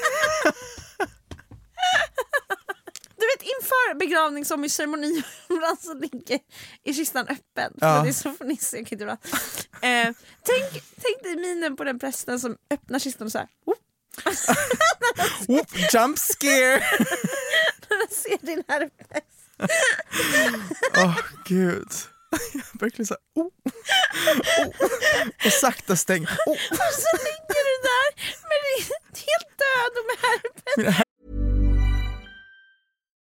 [SPEAKER 2] Du vet inför begravning som i ceremoni *laughs* ibland så ligger i kistan öppen. För
[SPEAKER 3] Ja.
[SPEAKER 2] att det är så fnissigt. jag kan inte ibland. Eh, tänk, tänk dig minen på den prästen som öppnar kistan och så här. "Whoop, *laughs*
[SPEAKER 3] Whoop, jump scare.
[SPEAKER 2] jag ser din herpes. *laughs*
[SPEAKER 3] Åh gud. Jag är *laughs* verkligen så här, oh. Oh. Och sakta stäng. Oh.
[SPEAKER 2] Och så ligger du där med din, helt död och med herpes.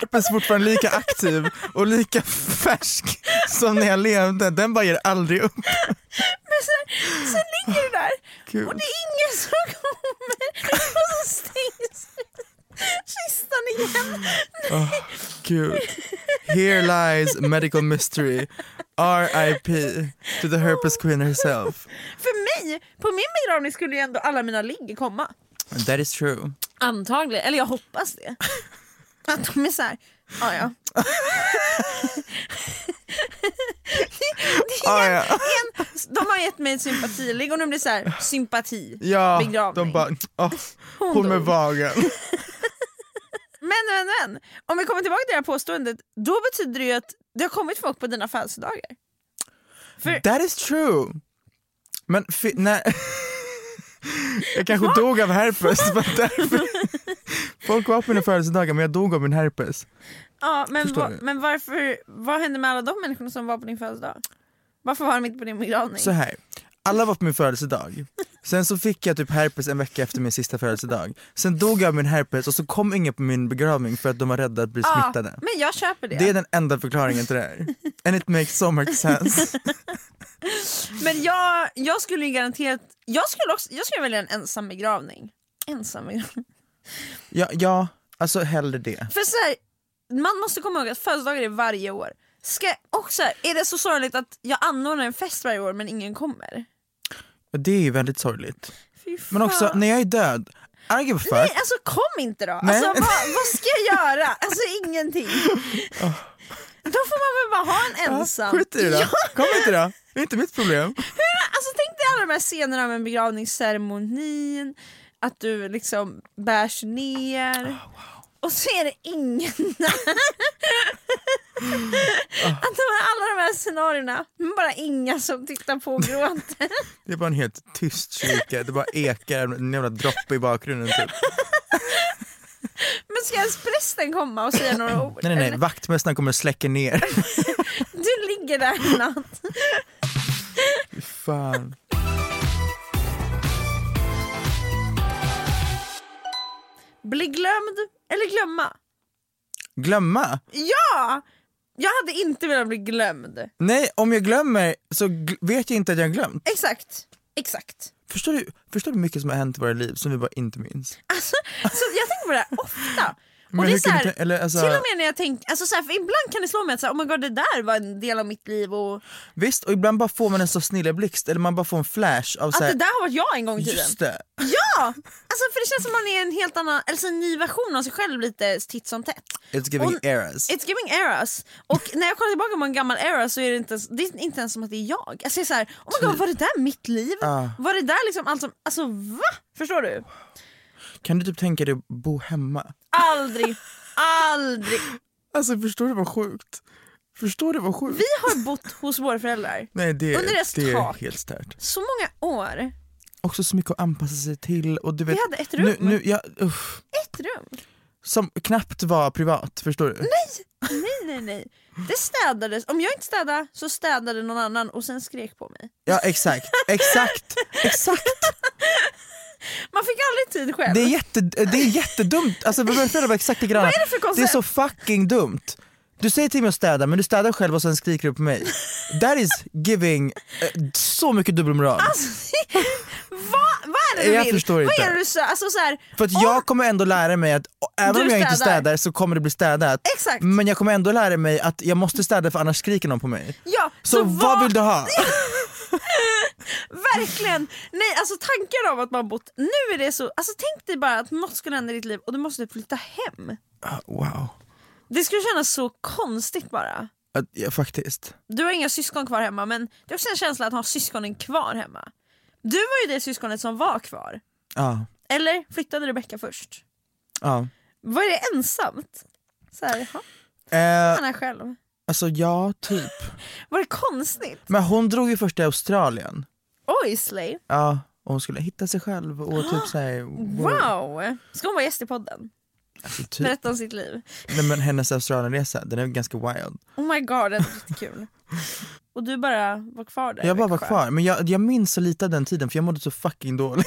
[SPEAKER 3] Herpes är fortfarande lika aktiv och lika färsk som när jag levde. Den bara ger aldrig upp.
[SPEAKER 2] Men sen, sen ligger du där
[SPEAKER 3] Ah, Gud.
[SPEAKER 2] och det är ingen som kommer. Och så stängs kistan igen.
[SPEAKER 3] Åh, Gud. Ah. Here lies medical mystery. R.I.P. to the herpes queen herself.
[SPEAKER 2] För mig, på min begravning skulle ju ändå alla mina ligg komma.
[SPEAKER 3] That is true.
[SPEAKER 2] Antagligen, eller jag hoppas det. Att de är såhär, ja ja.
[SPEAKER 3] Ah, ja.
[SPEAKER 2] En, de har gett mig ett sympatiligg och nu blir det såhär, sympati,
[SPEAKER 3] ja,
[SPEAKER 2] begravning.
[SPEAKER 3] de bara, åh, hon med vagen.
[SPEAKER 2] Men, men, men. Om vi kommer tillbaka till det här påståendet, då betyder det ju att det har kommit folk på dina födelsedagar. *laughs*
[SPEAKER 3] That is true. Men fi- nej. *laughs* Jag kanske dog av *laughs* herpes. Men därför... *laughs* Folk var på mina födelsedagar men jag dog av min herpes.
[SPEAKER 2] Ja, men,
[SPEAKER 3] Förstår
[SPEAKER 2] va,
[SPEAKER 3] du?
[SPEAKER 2] men varför, vad hände med alla de människorna som var på din födelsedag? Varför var de inte på din begravning?
[SPEAKER 3] Så här. Alla var på min födelsedag. Sen så fick jag typ herpes en vecka efter min sista födelsedag. Sen dog jag av min herpes och så kom ingen på min begravning för att de var rädda att bli
[SPEAKER 2] Ja,
[SPEAKER 3] smittade.
[SPEAKER 2] Ah, men jag köper det.
[SPEAKER 3] Det är den enda förklaringen till det här. And it makes so
[SPEAKER 2] *laughs*
[SPEAKER 3] much sense.
[SPEAKER 2] Men jag, jag skulle ju garanterat, jag skulle, också, jag skulle välja en ensam begravning. Ensam begravning.
[SPEAKER 3] Ja, ja alltså hellre det.
[SPEAKER 2] *laughs* För så här, man måste komma ihåg att födelsedagar är varje år. Ska, och så här, är det så sorgligt att jag anordnar en fest varje år men ingen kommer?
[SPEAKER 3] Och Det är ju väldigt sorgligt.
[SPEAKER 2] Fy
[SPEAKER 3] Men också,
[SPEAKER 2] fan.
[SPEAKER 3] när jag är död, I don't give a fuck.
[SPEAKER 2] Nej, alltså kom inte då!
[SPEAKER 3] Nej.
[SPEAKER 2] Alltså, vad, vad ska jag göra? Alltså
[SPEAKER 3] *laughs*
[SPEAKER 2] ingenting. Då får man väl bara ha en ensam.
[SPEAKER 3] Skit i det då.
[SPEAKER 2] Ja,
[SPEAKER 3] Kom inte då. Det är inte mitt problem.
[SPEAKER 2] alltså, tänk dig alla de här scenerna med begravningsceremonin, att du liksom bärs
[SPEAKER 3] Ah,
[SPEAKER 2] ner. Och så är det ingen där. Att de här, alla de här scenarierna, men bara inga som tittar på och
[SPEAKER 3] *laughs*
[SPEAKER 2] gråter.
[SPEAKER 3] Det är bara en helt tyst kyrka. Det bara ekar en jävla droppe i bakgrunden typ.
[SPEAKER 2] Men ska ens prästen komma och säga några ord?
[SPEAKER 3] Nej nej *laughs* nej, vaktmästaren kommer och släcker *laughs* ner.
[SPEAKER 2] Du ligger där i natt.
[SPEAKER 3] Fan.
[SPEAKER 2] Bli glömd eller glömma?
[SPEAKER 3] Glömma?
[SPEAKER 2] Ja! Jag hade inte velat bli glömd.
[SPEAKER 3] Nej, om jag glömmer så gl- vet jag inte att jag har glömt.
[SPEAKER 2] Exakt. Exakt.
[SPEAKER 3] Förstår du, förstår du hur mycket som har hänt i våra liv som vi bara inte minns?
[SPEAKER 2] Alltså, så jag tänker på det här ofta. Och
[SPEAKER 3] Men
[SPEAKER 2] det är
[SPEAKER 3] hur
[SPEAKER 2] så
[SPEAKER 3] kan
[SPEAKER 2] här,
[SPEAKER 3] du tän- eller, alltså-
[SPEAKER 2] Till och med när jag tänker, alltså så här, för ibland kan det slå mig att så här, oh my god, det där var en del av mitt liv och
[SPEAKER 3] Visst, och ibland bara får man en så snilleblixt eller man bara får en flash av
[SPEAKER 2] att
[SPEAKER 3] såhär,
[SPEAKER 2] det där har varit jag en gång i tiden.
[SPEAKER 3] just det.
[SPEAKER 2] Ja! Alltså för det känns som man är en helt annan, alltså en ny version av sig själv lite titt som tätt.
[SPEAKER 3] It's giving
[SPEAKER 2] Och-
[SPEAKER 3] errors.
[SPEAKER 2] It's giving errors. Och när jag kollar tillbaka på en gammal era så är det inte ens, det är inte ens som att det är jag. Alltså jag är såhär, oh my god var det där mitt liv?
[SPEAKER 3] Ah.
[SPEAKER 2] Var det där liksom allt som, alltså va? Förstår du?
[SPEAKER 3] Kan du typ tänka dig att bo hemma?
[SPEAKER 2] Aldrig, aldrig.
[SPEAKER 3] Alltså förstår du vad sjukt? Förstår du vad sjukt?
[SPEAKER 2] Vi har bott hos våra föräldrar
[SPEAKER 3] Nej det,
[SPEAKER 2] Under deras
[SPEAKER 3] det är
[SPEAKER 2] tak.
[SPEAKER 3] helt stört.
[SPEAKER 2] så många år.
[SPEAKER 3] också så mycket att anpassa sig till och du vet,
[SPEAKER 2] hade ett rum.
[SPEAKER 3] Nu, nu, jag, uff,
[SPEAKER 2] Ett rum.
[SPEAKER 3] som knappt var privat, förstår du?
[SPEAKER 2] Nej nej nej. Det städades, om jag inte städade så städade någon annan och sen skrek på mig.
[SPEAKER 3] Ja exakt,
[SPEAKER 2] *laughs*
[SPEAKER 3] exakt, exakt!
[SPEAKER 2] Man fick aldrig tid själv.
[SPEAKER 3] Det
[SPEAKER 2] *laughs*
[SPEAKER 3] är, jätte, det är jättedumt, alltså våra föräldrar var exakt likadana.
[SPEAKER 2] Vad är det för koncept?
[SPEAKER 3] Det är så fucking dumt! Du säger till mig att städa men du städar själv och sen skriker du på mig. That is giving eh, så mycket dubbelmoral.
[SPEAKER 2] Alltså, vad, vad är det du
[SPEAKER 3] Jag
[SPEAKER 2] vill?
[SPEAKER 3] förstår
[SPEAKER 2] vad
[SPEAKER 3] inte.
[SPEAKER 2] är det du sö- alltså, så här,
[SPEAKER 3] För att jag kommer ändå lära mig att och även
[SPEAKER 2] Du
[SPEAKER 3] om jag inte
[SPEAKER 2] städar.
[SPEAKER 3] städar så kommer det bli städat.
[SPEAKER 2] Exakt.
[SPEAKER 3] Men jag kommer ändå lära mig att jag måste städa för annars skriker någon på mig.
[SPEAKER 2] Ja,
[SPEAKER 3] Så, vad vill du ha?
[SPEAKER 2] Verkligen! Nej, alltså tankar av att man bott... Nu är det så... Alltså tänk dig bara att något skulle hända i ditt liv och du måste flytta hem.
[SPEAKER 3] Ah, Wow.
[SPEAKER 2] Det skulle kännas så konstigt bara.
[SPEAKER 3] Att, ja, faktiskt.
[SPEAKER 2] Du har inga syskon kvar hemma men det är också en känsla att ha syskonen kvar hemma. Du var ju det syskonet som var kvar.
[SPEAKER 3] Ja.
[SPEAKER 2] Eller flyttade Rebecka först?
[SPEAKER 3] ja.
[SPEAKER 2] Var det ensamt? Så här, jaha,
[SPEAKER 3] Eh,
[SPEAKER 2] han är själv.
[SPEAKER 3] alltså ja, typ.
[SPEAKER 2] Var det konstigt?
[SPEAKER 3] Men hon drog ju först till Australien.
[SPEAKER 2] Oj Slay,
[SPEAKER 3] Ja, och hon skulle hitta sig själv och typ såhär...
[SPEAKER 2] wow! Ska hon vara gäst i podden?
[SPEAKER 3] Alltså, typ.
[SPEAKER 2] Berätta om sitt liv.
[SPEAKER 3] Nej, men hennes Australienresa, den är ganska wild.
[SPEAKER 2] Oh my god, det är jättekul. Och du bara var kvar där? i
[SPEAKER 3] Jag bara var
[SPEAKER 2] Växjö.
[SPEAKER 3] kvar, men jag, jag minns så lite av den tiden för jag mådde så fucking dåligt.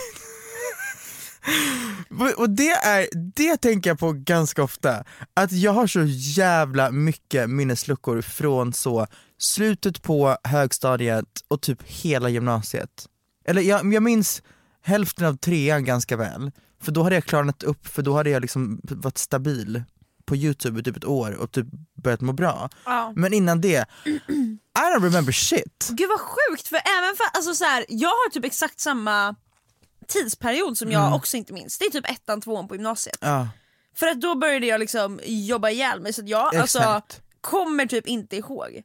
[SPEAKER 3] *laughs* Och- Och det, är, det tänker jag på ganska ofta, att jag har så jävla mycket minnesluckor från så slutet på högstadiet och typ hela gymnasiet. Eller jag, jag minns hälften av trean ganska väl, för då hade jag klarat upp, för då hade jag liksom varit stabil. på youtube i typ ett år och typ börjat må bra.
[SPEAKER 2] Ja.
[SPEAKER 3] Men innan det, I don't remember shit.
[SPEAKER 2] Gud vad sjukt, för även för, alltså så här, jag har typ exakt samma tidsperiod som jag
[SPEAKER 3] Mm.
[SPEAKER 2] också inte minns. Det är typ ettan, tvåan på gymnasiet.
[SPEAKER 3] Ja.
[SPEAKER 2] För att då började jag liksom jobba ihjäl mig så att jag alltså,
[SPEAKER 3] Exakt.
[SPEAKER 2] kommer typ inte ihåg.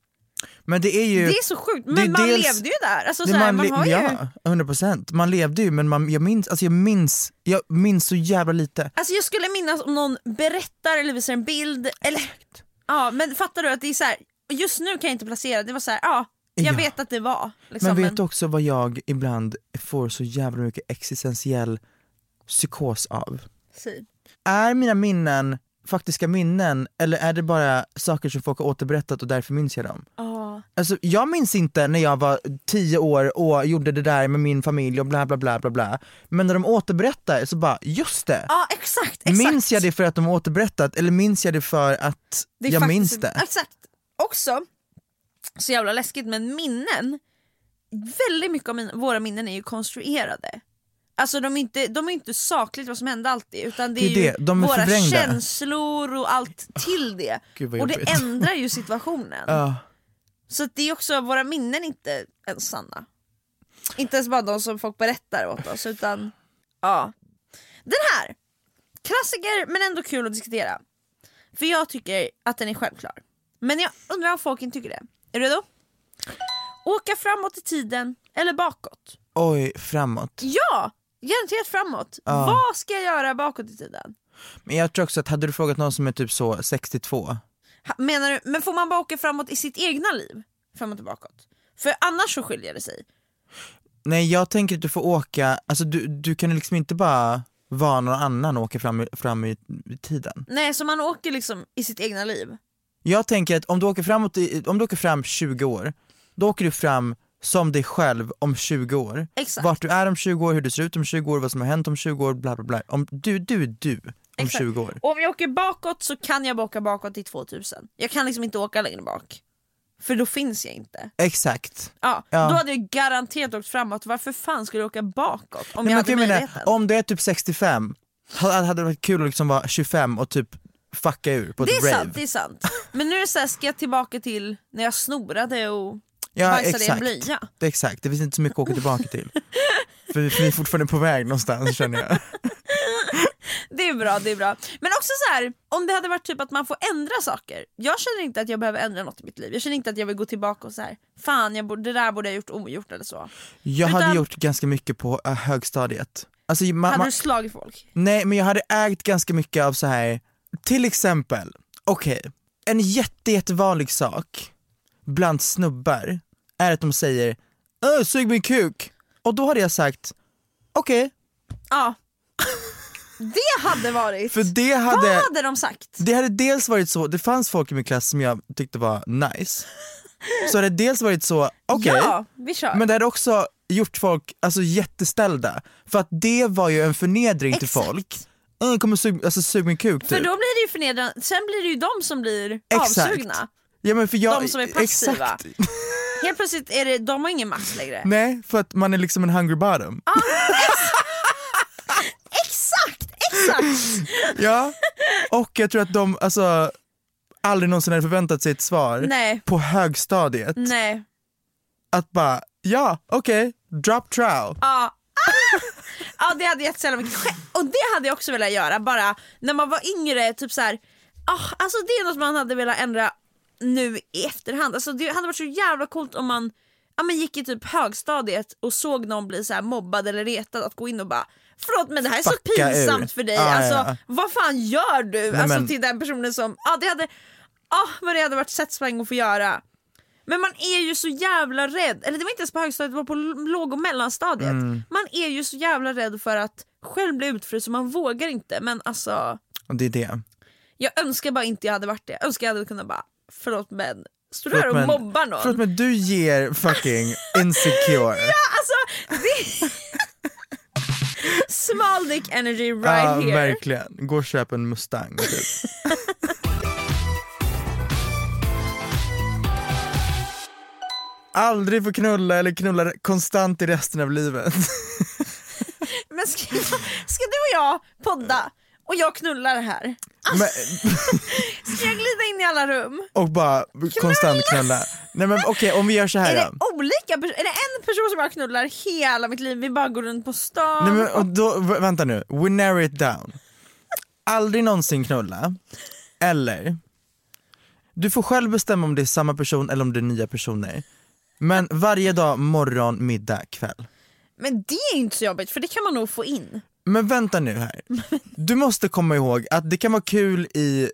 [SPEAKER 3] Men det är ju...
[SPEAKER 2] Det är så sjukt, men
[SPEAKER 3] det är
[SPEAKER 2] man
[SPEAKER 3] dels-
[SPEAKER 2] levde ju där. Alltså,
[SPEAKER 3] Det
[SPEAKER 2] så här, man,
[SPEAKER 3] le-
[SPEAKER 2] har ju...
[SPEAKER 3] Ja, 100 procent. Man levde ju men man, jag, minns, alltså jag, minns, jag minns så jävla lite.
[SPEAKER 2] Alltså jag skulle minnas om någon berättar eller visar en bild. Eller... Ja, men fattar du att det är så här, just nu kan jag inte placera, det var så här, ja, jag
[SPEAKER 3] Ja.
[SPEAKER 2] vet att det var. Liksom,
[SPEAKER 3] Men vet du också vad jag ibland får så jävla mycket existentiell psykos av?
[SPEAKER 2] Si.
[SPEAKER 3] Är mina minnen faktiska minnen eller är det bara saker som folk har återberättat och därför minns jag dem?
[SPEAKER 2] Ja.
[SPEAKER 3] Alltså, jag minns inte när jag var tio år och gjorde det där med min familj och bla bla bla bla bla. Men när de återberättar så bara, just det!
[SPEAKER 2] ja, exakt, exakt.
[SPEAKER 3] Minns jag det för att de har återberättat eller minns jag det för att
[SPEAKER 2] Det är
[SPEAKER 3] jag
[SPEAKER 2] faktiskt-
[SPEAKER 3] minns det?
[SPEAKER 2] Exakt. Också, så jävla läskigt, men minnen, väldigt mycket av min, våra minnen är ju konstruerade. Alltså de är inte, de är inte sakligt vad som hände alltid utan det är,
[SPEAKER 3] Det är det,
[SPEAKER 2] ju
[SPEAKER 3] de är
[SPEAKER 2] våra
[SPEAKER 3] förvrängda.
[SPEAKER 2] känslor och allt till det.
[SPEAKER 3] Ah, Gud, vad
[SPEAKER 2] och det
[SPEAKER 3] jobbigt.
[SPEAKER 2] ändrar
[SPEAKER 3] *laughs*
[SPEAKER 2] ju situationen.
[SPEAKER 3] Ja.
[SPEAKER 2] Så att det är också, våra minnen är inte ens sanna. Inte ens bara de som folk berättar åt oss utan, ja. Den här, klassiker men ändå kul att diskutera. För jag tycker att den är självklar. Men jag undrar om folk inte tycker det. Är du redo? Åka framåt i tiden eller bakåt?
[SPEAKER 3] Oj, framåt.
[SPEAKER 2] Ja! Garanterat framåt. Vad ska jag göra bakåt i tiden?
[SPEAKER 3] Men jag tror också att hade du frågat någon som är typ så 62,
[SPEAKER 2] Ha- Menar du, men får man bara åka framåt i sitt egna liv? Framåt och bakåt? För annars så skiljer det sig.
[SPEAKER 3] nej jag tänker att du får åka, alltså du, du kan liksom inte bara vara någon annan och åka fram, i- fram i, i tiden.
[SPEAKER 2] Nej, så man åker liksom i sitt egna liv.
[SPEAKER 3] Jag tänker att om du åker framåt, i, om du åker fram 20 år, då åker du fram som dig själv om 20 år.
[SPEAKER 2] Exakt.
[SPEAKER 3] Vart du är om 20 år, hur du ser ut om 20 år, vad som har hänt om 20 år, bla bla bla. Om du, du är du om
[SPEAKER 2] Exakt.
[SPEAKER 3] 20 år.
[SPEAKER 2] Och om jag åker bakåt så kan jag bara åka bakåt till 2000. Jag kan liksom inte åka längre bak. För då finns jag inte.
[SPEAKER 3] Exakt.
[SPEAKER 2] Ja,
[SPEAKER 3] Ja.
[SPEAKER 2] Då hade jag garanterat åkt framåt, varför fan skulle jag åka bakåt om
[SPEAKER 3] Nej,
[SPEAKER 2] jag
[SPEAKER 3] men
[SPEAKER 2] hade
[SPEAKER 3] jag menar,
[SPEAKER 2] möjligheten?
[SPEAKER 3] om du är typ 65, ha- hade det varit kul att liksom vara 25 och typ fucka ur på ett
[SPEAKER 2] Det är
[SPEAKER 3] rave.
[SPEAKER 2] sant, det är sant. Men nu är det så här, ska jag tillbaka till när jag snorade och
[SPEAKER 3] Ja,
[SPEAKER 2] bajsade i en
[SPEAKER 3] exakt.
[SPEAKER 2] blöja?
[SPEAKER 3] Det, är exakt. det finns inte så mycket att åka tillbaka till.
[SPEAKER 2] *laughs*
[SPEAKER 3] för, vi- för vi är fortfarande på väg någonstans känner jag.
[SPEAKER 2] Det är bra, det är bra. Men också så här, om det hade varit typ att man får ändra saker. Jag känner inte att jag behöver ändra något i mitt liv. Jag känner inte att jag vill gå tillbaka och så här, fan jag borde, det där borde jag gjort ogjort eller så.
[SPEAKER 3] Jag
[SPEAKER 2] Utan-
[SPEAKER 3] hade gjort ganska mycket på eh, högstadiet. Alltså, ma-
[SPEAKER 2] Hade
[SPEAKER 3] ma-
[SPEAKER 2] du slagit folk?
[SPEAKER 3] Nej men jag hade ägt ganska mycket av så här. till exempel, okej, en jätte, jättevanlig sak bland snubbar är att de säger "Öh, sug min kuk” och då hade jag sagt okej,
[SPEAKER 2] Ja. *laughs* Det hade varit.
[SPEAKER 3] för det
[SPEAKER 2] Vad
[SPEAKER 3] hade,
[SPEAKER 2] hade de sagt?
[SPEAKER 3] det hade dels varit så, det fanns folk i min klass som jag tyckte var nice, så hade det dels varit så, okej,
[SPEAKER 2] Ja, vi kör.
[SPEAKER 3] men det hade också gjort folk alltså, jätteställda, för att det var ju en förnedring till
[SPEAKER 2] Exakt.
[SPEAKER 3] folk. "Öh, kommer sug, alltså, sug min kuk
[SPEAKER 2] För
[SPEAKER 3] typ.
[SPEAKER 2] då blir det ju förnedrande, sen blir det ju de som blir
[SPEAKER 3] Exakt.
[SPEAKER 2] avsugna.
[SPEAKER 3] Ja, men för jag,
[SPEAKER 2] De som är passiva.
[SPEAKER 3] Exakt. *laughs*
[SPEAKER 2] Helt plötsligt är det, de har ingen makt längre.
[SPEAKER 3] Nej, för att man är liksom en hungry bottom.
[SPEAKER 2] Ah. Exakt, exakt!
[SPEAKER 3] *laughs* Ja. Och jag tror att de alltså, aldrig någonsin hade förväntat sig ett svar
[SPEAKER 2] Nej.
[SPEAKER 3] på högstadiet.
[SPEAKER 2] Nej.
[SPEAKER 3] Att bara, ja okej, drop trow.
[SPEAKER 2] Ja. ja, det hade gett så jävla mycket skämt. Och det hade jag också velat göra, bara när man var yngre, typ så här, ah, alltså det är något man hade velat ändra nu i efterhand. Alltså det hade varit så jävla coolt om man Ja, men gick i typ högstadiet och såg någon bli så här mobbad eller retad att gå in och bara Förlåt men det här är så
[SPEAKER 3] Fucka ur."
[SPEAKER 2] pinsamt för dig,
[SPEAKER 3] Ja, ja,
[SPEAKER 2] alltså,
[SPEAKER 3] ja.
[SPEAKER 2] vad fan gör du?
[SPEAKER 3] Nej,
[SPEAKER 2] alltså
[SPEAKER 3] men-
[SPEAKER 2] till den personen som, ja det hade, ah, vad det hade varit satisfying att få göra. Men man är ju så jävla rädd, eller det var inte ens på högstadiet, det var på l- låg och mellanstadiet.
[SPEAKER 3] Mm.
[SPEAKER 2] Man är ju så jävla rädd för att själv bli utfryst så man vågar inte. Men alltså,
[SPEAKER 3] Och det är det.
[SPEAKER 2] jag önskar bara inte jag hade varit det. Jag önskar jag hade kunnat bara, förlåt men, står du här
[SPEAKER 3] Förlåt,
[SPEAKER 2] och
[SPEAKER 3] men-
[SPEAKER 2] mobbar någon?
[SPEAKER 3] Förlåt men du ger fucking
[SPEAKER 2] *laughs*
[SPEAKER 3] insecure.
[SPEAKER 2] Alltså, det... *laughs* Small dick energy right
[SPEAKER 3] Ja,
[SPEAKER 2] here.
[SPEAKER 3] verkligen. Gå och köp en Mustang. Typ.
[SPEAKER 2] *laughs*
[SPEAKER 3] Aldrig få knulla eller knulla konstant i resten av livet.
[SPEAKER 2] Men ska, ska du och jag podda och jag knullar här.
[SPEAKER 3] *laughs* Men,
[SPEAKER 2] Ska jag glida in i alla rum?
[SPEAKER 3] och bara konstant knulla. Nej men okej om vi gör så
[SPEAKER 2] Är
[SPEAKER 3] här
[SPEAKER 2] det
[SPEAKER 3] då.
[SPEAKER 2] olika pers- Är det en person som jag knullar hela mitt liv? Vi bara går runt på stan.
[SPEAKER 3] Nej, men, och då, v- vänta nu, we narrow it down. Aldrig någonsin knulla, eller du får själv bestämma om det är samma person eller om det är nya personer. Men varje dag, morgon, middag, kväll.
[SPEAKER 2] Men det är inte så jobbigt för det kan man nog få in. *laughs*
[SPEAKER 3] Men vänta nu här, du måste komma ihåg att det kan vara kul i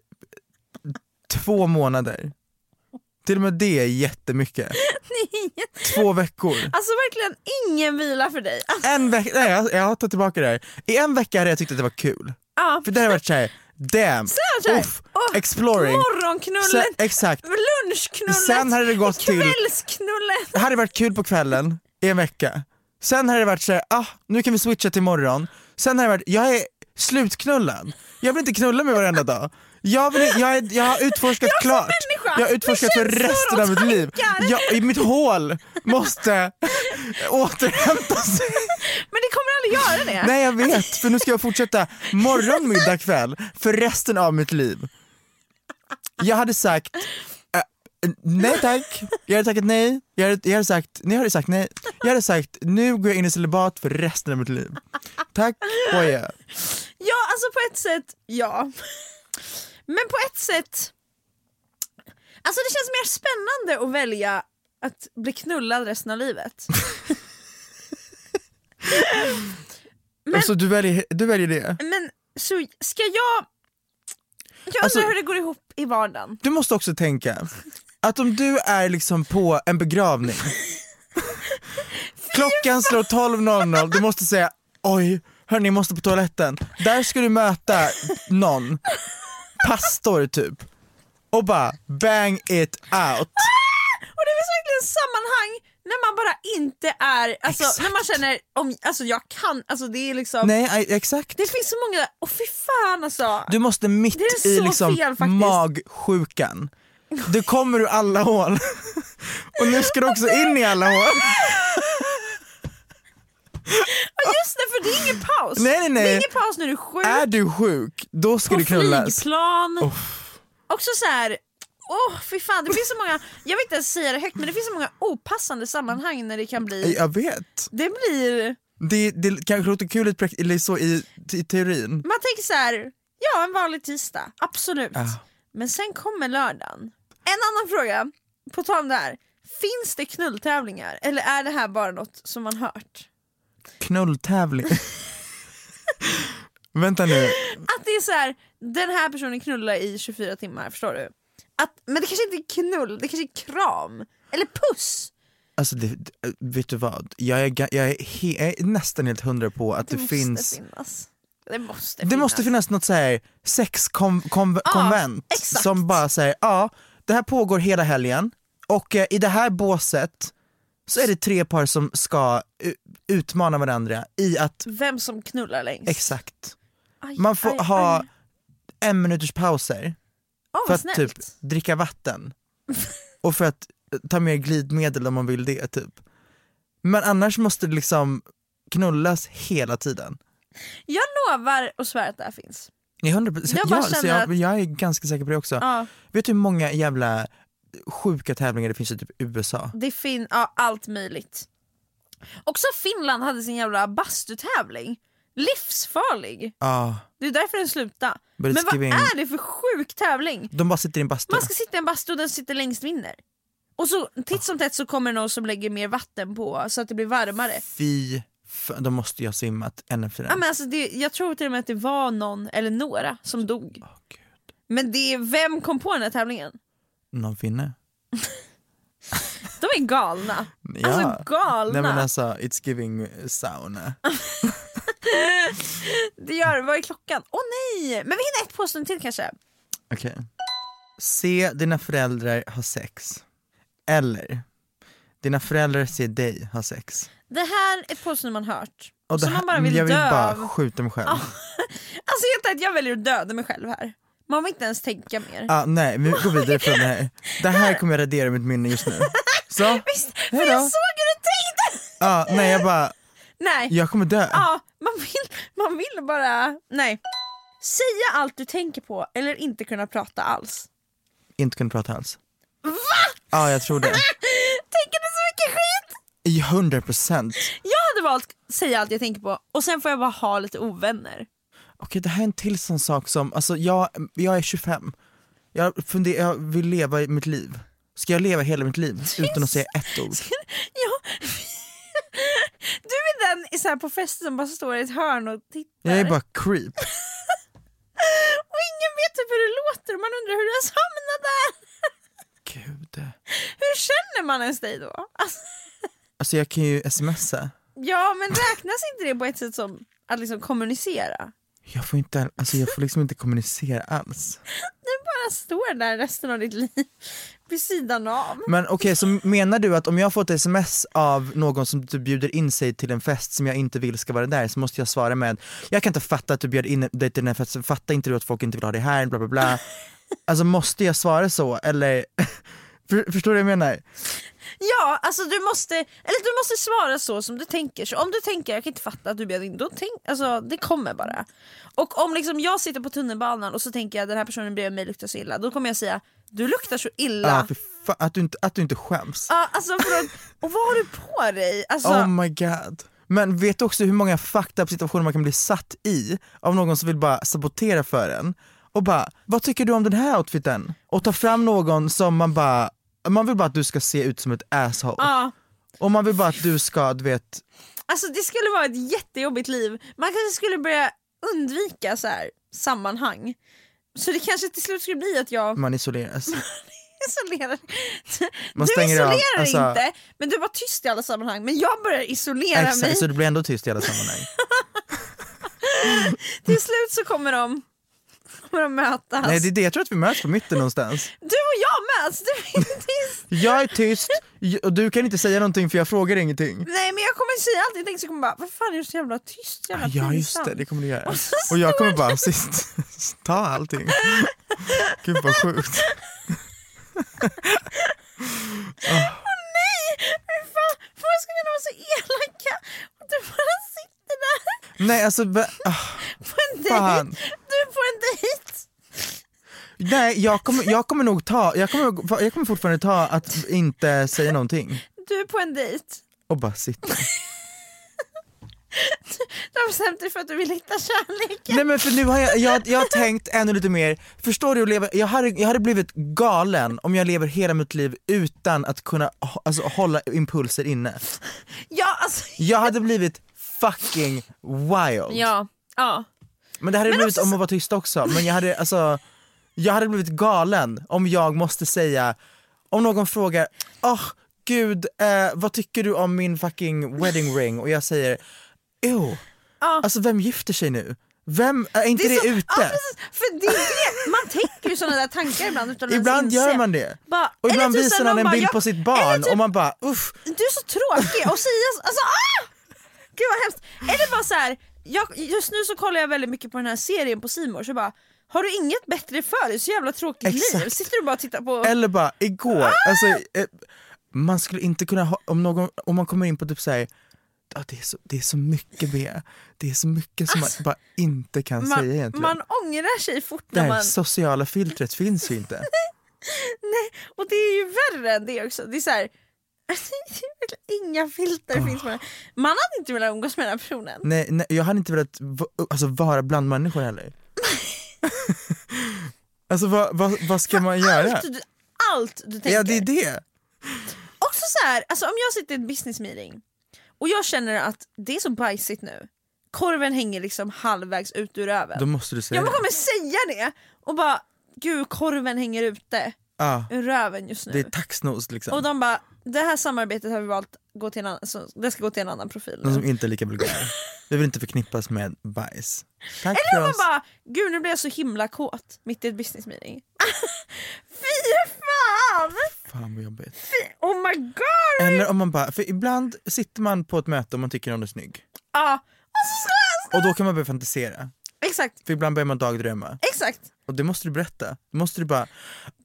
[SPEAKER 3] två månader. Till och med det är jättemycket. Två veckor.
[SPEAKER 2] Alltså verkligen ingen vila för dig. Alltså,
[SPEAKER 3] En vecka, nej jag, jag tar tillbaka det här. I en vecka hade jag tyckt att det var kul.
[SPEAKER 2] ja.
[SPEAKER 3] För det har varit såhär, damn,
[SPEAKER 2] Så här,
[SPEAKER 3] uff,
[SPEAKER 2] åh,
[SPEAKER 3] exploring. Sen,
[SPEAKER 2] Morgonknullen,
[SPEAKER 3] exakt.
[SPEAKER 2] lunchknullet,
[SPEAKER 3] Sen hade det gått till-
[SPEAKER 2] kvällsknullet.
[SPEAKER 3] Det hade varit kul på kvällen i en vecka. Sen hade det varit såhär, ah, nu kan vi switcha till morgon. Sen hade det varit, jag är slutknullad. Jag vill inte knulla mig varenda dag. Jag, vill, jag, är, jag har utforskat
[SPEAKER 2] *laughs* Jag som
[SPEAKER 3] klart.
[SPEAKER 2] människa,
[SPEAKER 3] jag har utforskat för
[SPEAKER 2] med känslor
[SPEAKER 3] resten
[SPEAKER 2] och
[SPEAKER 3] av mitt liv.
[SPEAKER 2] tankar.
[SPEAKER 3] Jag, i mitt hål
[SPEAKER 2] *laughs*
[SPEAKER 3] måste återhämta sig.
[SPEAKER 2] Men det kommer aldrig göra det.
[SPEAKER 3] Nej jag vet, för nu ska jag fortsätta morgon, middag, kväll för resten av mitt liv. Jag hade sagt eh, nej tack, jag hade tackat nej, jag hade, jag hade sagt, ni hade sagt nej, jag hade sagt nu går jag in i celibat för resten av mitt liv. Tack och adjö.
[SPEAKER 2] Ja, alltså på ett sätt, ja. Men på ett sätt... Alltså det känns mer spännande att välja att bli knullad resten av livet.
[SPEAKER 3] Alltså du väljer, du väljer det.
[SPEAKER 2] Men så ska jag... Jag undrar
[SPEAKER 3] Alltså-
[SPEAKER 2] hur det går ihop i vardagen.
[SPEAKER 3] Du måste också tänka att om du är liksom på en begravning, klockan slår 12.00, du måste säga oj, hörni jag måste på toaletten. Där ska du möta någon, pastor typ, och bara bang it out.
[SPEAKER 2] Ah! Och det finns verkligen sammanhang när man bara inte är... Alltså när man känner om, alltså jag kan, alltså det är liksom...
[SPEAKER 3] Nej, aj, exakt.
[SPEAKER 2] Det finns så många, och fy fan alltså!
[SPEAKER 3] Du måste mitt
[SPEAKER 2] Det är
[SPEAKER 3] i
[SPEAKER 2] så
[SPEAKER 3] liksom
[SPEAKER 2] fel faktiskt.
[SPEAKER 3] magsjukan, du kommer ur alla hål. Och nu ska du också in i alla hål.
[SPEAKER 2] Ja just det, för det är ingen paus!
[SPEAKER 3] Nej, nej, nej.
[SPEAKER 2] Det är ingen paus när du är sjuk,
[SPEAKER 3] Är du sjuk, då ska
[SPEAKER 2] på
[SPEAKER 3] du knullas.
[SPEAKER 2] flygplan. Också så här. Åh oh, fy fan, det finns så många, jag vill inte ens säga det högt men det finns så många opassande sammanhang när det kan bli,
[SPEAKER 3] Jag vet.
[SPEAKER 2] det blir,
[SPEAKER 3] Det, det kanske låter kul i, prakt- eller så i, i teorin.
[SPEAKER 2] man tänker så här. ja en vanlig tisdag, absolut. Men sen kommer lördagen. En annan fråga, på tal om det här. Finns det knulltävlingar eller är det här bara något som man hört? *laughs*
[SPEAKER 3] Knulltävling. Vänta nu.
[SPEAKER 2] Att det är så här, den här personen knullar i 24 timmar, förstår du? Att, men det kanske inte är knull, det kanske är kram. Eller puss!
[SPEAKER 3] Alltså det, vet du vad? Jag är, ga- jag är, he, jag är nästan helt hundra på att det,
[SPEAKER 2] måste
[SPEAKER 3] finns
[SPEAKER 2] finnas. Det måste
[SPEAKER 3] Det måste finnas något så här sexkonvent kon,
[SPEAKER 2] Ja,
[SPEAKER 3] konvent
[SPEAKER 2] exakt.
[SPEAKER 3] som bara säger ja, det här pågår hela helgen och eh, i det här båset så är det tre par som ska u- utmana varandra i att
[SPEAKER 2] Vem som knullar längst.
[SPEAKER 3] Exakt.
[SPEAKER 2] Aj,
[SPEAKER 3] Man får
[SPEAKER 2] aj,
[SPEAKER 3] ha
[SPEAKER 2] aj.
[SPEAKER 3] en minuters pauser
[SPEAKER 2] Åh, vad
[SPEAKER 3] för att
[SPEAKER 2] snällt.
[SPEAKER 3] typ dricka vatten och för att eh, ta med glidmedel om man vill det typ. Men annars måste det liksom knullas hela tiden.
[SPEAKER 2] Jag lovar och svär att det här finns.
[SPEAKER 3] Jag, är 100%,
[SPEAKER 2] Jag bara
[SPEAKER 3] ja, så
[SPEAKER 2] känner
[SPEAKER 3] jag,
[SPEAKER 2] att-
[SPEAKER 3] jag är ganska säker på det också.
[SPEAKER 2] Ja,
[SPEAKER 3] Vet du hur många jävla sjuka tävlingar det finns i typ USA?
[SPEAKER 2] det fin- ja, allt möjligt. Också Finland hade sin jävla bastutävling. Livsfarlig.
[SPEAKER 3] Ja,
[SPEAKER 2] Det är därför den slutade.
[SPEAKER 3] But it's
[SPEAKER 2] Men vad
[SPEAKER 3] giving-
[SPEAKER 2] är det för sjuk tävling?
[SPEAKER 3] de bara sitter i en bastu.
[SPEAKER 2] Man ska sitta i en bastu och den sitter längst vinner. Och så titt som tätt så kommer någon som lägger mer vatten på så att det blir varmare.
[SPEAKER 3] Fy fan, de måste ju ha simmat en efter en.
[SPEAKER 2] Ja, men alltså det, jag tror till och med att det var någon eller några som dog.
[SPEAKER 3] Åh, Gud.
[SPEAKER 2] Men det är, vem kom på den här tävlingen?
[SPEAKER 3] Någon finne?
[SPEAKER 2] De är galna.
[SPEAKER 3] Ja.
[SPEAKER 2] Alltså galna.
[SPEAKER 3] Nej men alltså, it's giving sauna.
[SPEAKER 2] Det gör Vad är klockan? Åh nej! Men vi hinner ett påstående till kanske.
[SPEAKER 3] Okej. Se dina föräldrar ha sex. Eller, dina föräldrar ser dig ha sex.
[SPEAKER 2] Det här är ett påstående man hört.
[SPEAKER 3] Och det
[SPEAKER 2] som
[SPEAKER 3] här,
[SPEAKER 2] man bara vill
[SPEAKER 3] jag vill
[SPEAKER 2] dö av. Ah.
[SPEAKER 3] bara skjuta mig själv.
[SPEAKER 2] Alltså helt ärligt, jag väljer att döda mig själv här. Man vill inte ens tänka mer.
[SPEAKER 3] Ah, nej, vi går vidare från det här. Det här kommer jag radera i mitt minne just nu. Så,
[SPEAKER 2] Visst, för
[SPEAKER 3] hejdå.
[SPEAKER 2] jag såg hur du tänkte!
[SPEAKER 3] Ah, nej jag bara,
[SPEAKER 2] Nej. Ah.
[SPEAKER 3] jag kommer dö.
[SPEAKER 2] Ja, man vill, man vill bara... Nej. Säga allt du tänker på eller inte kunna prata alls.
[SPEAKER 3] Inte kunde prata alls. Va? Ja, ah, jag tror det.
[SPEAKER 2] *laughs* Tänker du så mycket skit?
[SPEAKER 3] I 100 procent.
[SPEAKER 2] Jag hade valt säga allt jag tänker på och sen får jag bara ha lite ovänner. *laughs*
[SPEAKER 3] Okej, det här är en till sån sak som, alltså jag, jag är 25. Jag, funder, jag vill leva i mitt liv. Ska jag leva hela mitt liv utan att säga ett ord?
[SPEAKER 2] Ja. *laughs* Du är den i så här på festen som bara står i ett hörn och tittar.
[SPEAKER 3] Jag är bara creep.
[SPEAKER 2] Och ingen vet typ hur det låter och man undrar hur du ens hamnade där. *laughs*
[SPEAKER 3] Gud.
[SPEAKER 2] Hur känner man ens dig då? Alltså,
[SPEAKER 3] Alltså jag kan ju smsa.
[SPEAKER 2] ja men räknas inte det på ett sätt som att liksom kommunicera?
[SPEAKER 3] Jag får, inte, alltså jag får liksom inte kommunicera alls.
[SPEAKER 2] Du bara står där resten av ditt liv vid sidan av.
[SPEAKER 3] Men okej, så menar du att om jag får ett sms av någon som typ bjuder in sig till en fest som jag inte vill ska vara där så måste jag svara med Jag kan inte fatta att du bjöd in dig till den här festen, fattar inte du att folk inte vill ha dig här, bla bla bla. Alltså måste jag svara så eller? *laughs* För, förstår du vad jag menar?
[SPEAKER 2] Ja, alltså du måste, eller du måste svara så som du tänker. Så om du tänker jag kan inte fatta att du bjöd in, då tänk, alltså, det kommer bara. Och om liksom jag sitter på tunnelbanan och så tänker jag den här personen bredvid mig luktar så illa, då kommer jag säga du luktar så
[SPEAKER 3] Ah,
[SPEAKER 2] illa.
[SPEAKER 3] för fa- att, du inte, att du inte skäms.
[SPEAKER 2] Ja, alltså förlåt. Och vad har du på dig? Alltså,
[SPEAKER 3] Oh my god. Men vet du också hur många fucked up situationer man kan bli satt i av någon som vill bara sabotera för en och bara, vad tycker du om den här outfiten? Och ta fram någon som man bara, man vill bara att du ska se ut som ett asshole.
[SPEAKER 2] ja.
[SPEAKER 3] Och man vill bara att du ska, du vet,
[SPEAKER 2] alltså det skulle vara ett jättejobbigt liv. Man kanske skulle börja undvika så här sammanhang. Så det kanske till slut skulle bli att jag *laughs*
[SPEAKER 3] man isoleras.
[SPEAKER 2] isolerar.
[SPEAKER 3] Man
[SPEAKER 2] du
[SPEAKER 3] stänger av,
[SPEAKER 2] isolerar
[SPEAKER 3] alltså-
[SPEAKER 2] inte, men du var tyst i alla sammanhang. Men jag börjar isolera mig.
[SPEAKER 3] Exakt, så det blir ändå tyst i
[SPEAKER 2] *laughs*
[SPEAKER 3] alla sammanhang.
[SPEAKER 2] Till slut så kommer de, kommer de mötas.
[SPEAKER 3] Nej det är det, jag tror att vi möts på mitten någonstans.
[SPEAKER 2] Du och jag möts! Du är tyst.
[SPEAKER 3] Jag är tyst j- och du kan inte säga någonting för jag frågar ingenting.
[SPEAKER 2] Nej men jag kommer säga allt jag tänker, så jag kommer bara vad fan är du så jävla tyst? så Jävla
[SPEAKER 3] Ja just
[SPEAKER 2] pinsam?"
[SPEAKER 3] det, det kommer du göra.
[SPEAKER 2] Och så
[SPEAKER 3] Och jag
[SPEAKER 2] står
[SPEAKER 3] kommer
[SPEAKER 2] du-
[SPEAKER 3] bara sist, *laughs* ta allting. Gud vad sjukt.
[SPEAKER 2] Nej! Hur fan, varför ska vi vara så elaka? Och du bara sitter där
[SPEAKER 3] Nej alltså, va- ah,
[SPEAKER 2] på en
[SPEAKER 3] Fan.
[SPEAKER 2] dejt. Du är på en dejt.
[SPEAKER 3] nej jag kommer, jag kommer nog ta, jag kommer, jag kommer fortfarande ta att inte säga någonting
[SPEAKER 2] Du är på en dejt.
[SPEAKER 3] och bara sitta.
[SPEAKER 2] Du har bestämt dig för att du vill hitta kärleken.
[SPEAKER 3] Nej men för nu har jag, jag, jag har tänkt ännu lite mer, förstår du att leva, jag hade, jag hade blivit galen om jag lever hela mitt liv utan att kunna hå- alltså, hålla impulser inne.
[SPEAKER 2] Ja alltså.
[SPEAKER 3] Jag hade blivit fucking wild.
[SPEAKER 2] Ja. Ja.
[SPEAKER 3] Men det hade
[SPEAKER 2] Men
[SPEAKER 3] blivit
[SPEAKER 2] också
[SPEAKER 3] om att vara tyst också, men jag hade alltså Jag hade blivit galen om jag måste säga Om någon frågar åh gud, eh, vad tycker du om min fucking wedding ring? Och jag säger Ew, alltså vem gifter sig nu? Vem, eh, är inte det,
[SPEAKER 2] så-
[SPEAKER 3] ute?
[SPEAKER 2] Ja, precis. för det är det. Man tänker ju sådana där tankar ibland utan att ens
[SPEAKER 3] ibland gör
[SPEAKER 2] Alltså, inse.
[SPEAKER 3] man det
[SPEAKER 2] Bara-
[SPEAKER 3] Och
[SPEAKER 2] eller
[SPEAKER 3] ibland
[SPEAKER 2] typ
[SPEAKER 3] visar
[SPEAKER 2] såhär,
[SPEAKER 3] man
[SPEAKER 2] någon
[SPEAKER 3] en
[SPEAKER 2] bara,
[SPEAKER 3] bild
[SPEAKER 2] "Jag-
[SPEAKER 3] på sitt
[SPEAKER 2] eller
[SPEAKER 3] barn
[SPEAKER 2] typ-
[SPEAKER 3] och man bara uff
[SPEAKER 2] Du är så tråkig och säga så- alltså ah! Gud vad hemskt. Eller bara så här, jag, just nu så kollar jag väldigt mycket på den här serien på Simor så bara har du inget bättre för dig? Så jävla tråkigt liv.
[SPEAKER 3] Exakt.
[SPEAKER 2] Sitter du bara och tittar på...
[SPEAKER 3] Eller bara igår, alltså, eh, man skulle inte kunna ha, om, någon, om man kommer in på typ såhär Ja, det, är så, det är så mycket B, det är så mycket som man bara inte kan säga
[SPEAKER 2] Alltså, man,
[SPEAKER 3] egentligen.
[SPEAKER 2] man ångrar sig fort
[SPEAKER 3] det
[SPEAKER 2] när
[SPEAKER 3] här
[SPEAKER 2] man...
[SPEAKER 3] sociala filtret finns ju inte.
[SPEAKER 2] Och det är ju värre än det också. Det är så här, *laughs* inga filter
[SPEAKER 3] Ah.
[SPEAKER 2] finns på det. Man hade inte velat umgås med den här personen.
[SPEAKER 3] nej, nej, jag hade inte velat va- alltså, vara bland människor heller. *laughs* alltså vad, vad, vad ska man göra?
[SPEAKER 2] Allt du, allt du tänker.
[SPEAKER 3] Ja det är det.
[SPEAKER 2] Också så här, alltså om jag sitter i ett business meeting och jag känner att det är så bajsigt nu. Korven hänger liksom halvvägs ut ur öven.
[SPEAKER 3] Då måste du säga
[SPEAKER 2] Jag
[SPEAKER 3] det.
[SPEAKER 2] kommer säga det och bara gud korven hänger ute
[SPEAKER 3] Ja,
[SPEAKER 2] ur röven just nu.
[SPEAKER 3] det är taxnos liksom.
[SPEAKER 2] Och de bara det här samarbetet har vi valt att gå till en annan, så det ska gå till en annan profil.
[SPEAKER 3] De som inte är lika vulgära. Vi vill inte förknippas med bajs. Tack
[SPEAKER 2] Eller
[SPEAKER 3] för
[SPEAKER 2] man
[SPEAKER 3] oss.
[SPEAKER 2] bara gud nu blir jag så himla kåt mitt i ett business meeting. *laughs* Fy fan!
[SPEAKER 3] Fan vad jobbigt.
[SPEAKER 2] Fy, oh my god!
[SPEAKER 3] Eller om man bara, för ibland sitter man på ett möte och man tycker någon är snygg.
[SPEAKER 2] Ja. Och så ska jag-
[SPEAKER 3] Och då kan man börja fantisera.
[SPEAKER 2] Exakt,
[SPEAKER 3] För ibland börjar man dagdrömma.
[SPEAKER 2] exakt.
[SPEAKER 3] Och det måste du berätta. Då måste du bara,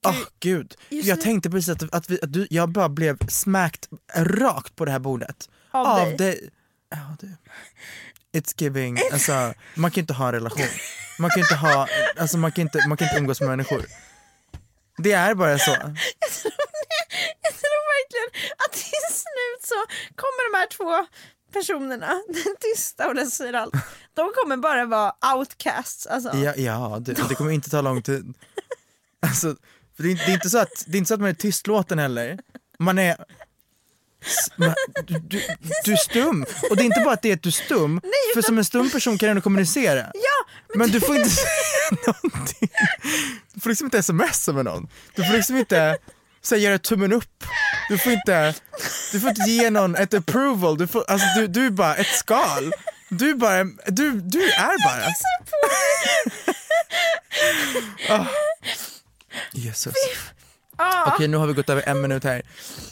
[SPEAKER 3] åh gud.
[SPEAKER 2] just
[SPEAKER 3] Jag
[SPEAKER 2] nu-
[SPEAKER 3] tänkte precis att, att, vi, att du, jag bara blev smäckt rakt på det här bordet.
[SPEAKER 2] Av dig.
[SPEAKER 3] dig. Ja, du. It's giving, alltså man kan inte ha en relation. Man kan inte ha, alltså man kan inte, man kan inte umgås med människor. Det är bara så.
[SPEAKER 2] Jag tror verkligen att till slut så kommer de här två personerna, den tysta och den säger allt, de kommer bara vara outcasts. Alltså.
[SPEAKER 3] Ja, ja det, det kommer inte ta lång tid. Alltså, för det, är, inte- det, är inte så att, det är inte så att man är tystlåten heller. Man är... s- Man, du, du, du är stum. Och det är inte bara att det är att du är stum, för som en stum person kan du ändå kommunicera.
[SPEAKER 2] Ja,
[SPEAKER 3] men, du får inte säga någonting. Du får liksom inte smsa med någon. Du får liksom inte så här, göra tummen upp. Du får inte, du får inte ge någon ett approval. Du, får, alltså, du, du är bara ett skal. Du är bara, du, du är bara. Ah. Jesus. Okej, nu har vi gått över en minut här.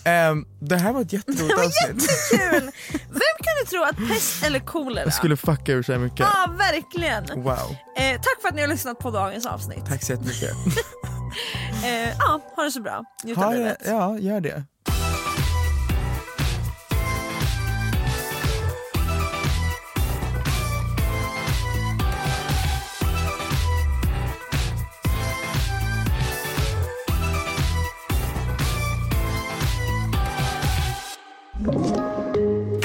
[SPEAKER 3] Ehm, det här var ett jätteroligt avsnitt.
[SPEAKER 2] Kul! Vem kunde tro att pest eller kolera?
[SPEAKER 3] Jag skulle fucka ur sig mycket.
[SPEAKER 2] Ja, verkligen.
[SPEAKER 3] Wow.
[SPEAKER 2] Eh, tack för att ni har lyssnat på dagens avsnitt.
[SPEAKER 3] Tack så jättemycket.
[SPEAKER 2] Eh, ja, ha det så bra. Njut av
[SPEAKER 3] Ha det,
[SPEAKER 2] livet.
[SPEAKER 3] ja, gör det.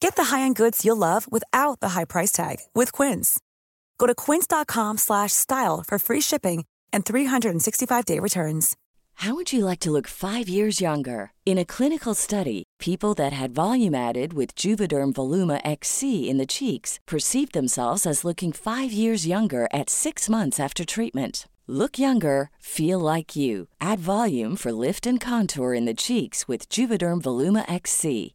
[SPEAKER 4] Get the high-end goods you'll love without the high price tag with Quince. Go to quince.com/style slash style for free shipping and 365-day returns.
[SPEAKER 5] How would you like to look five years younger? In a clinical study, people that had volume added with Juvederm Voluma XC in the cheeks perceived themselves as looking five years younger at six months after treatment. Look younger, feel like you. Add volume for lift and contour in the cheeks with Juvederm Voluma XC.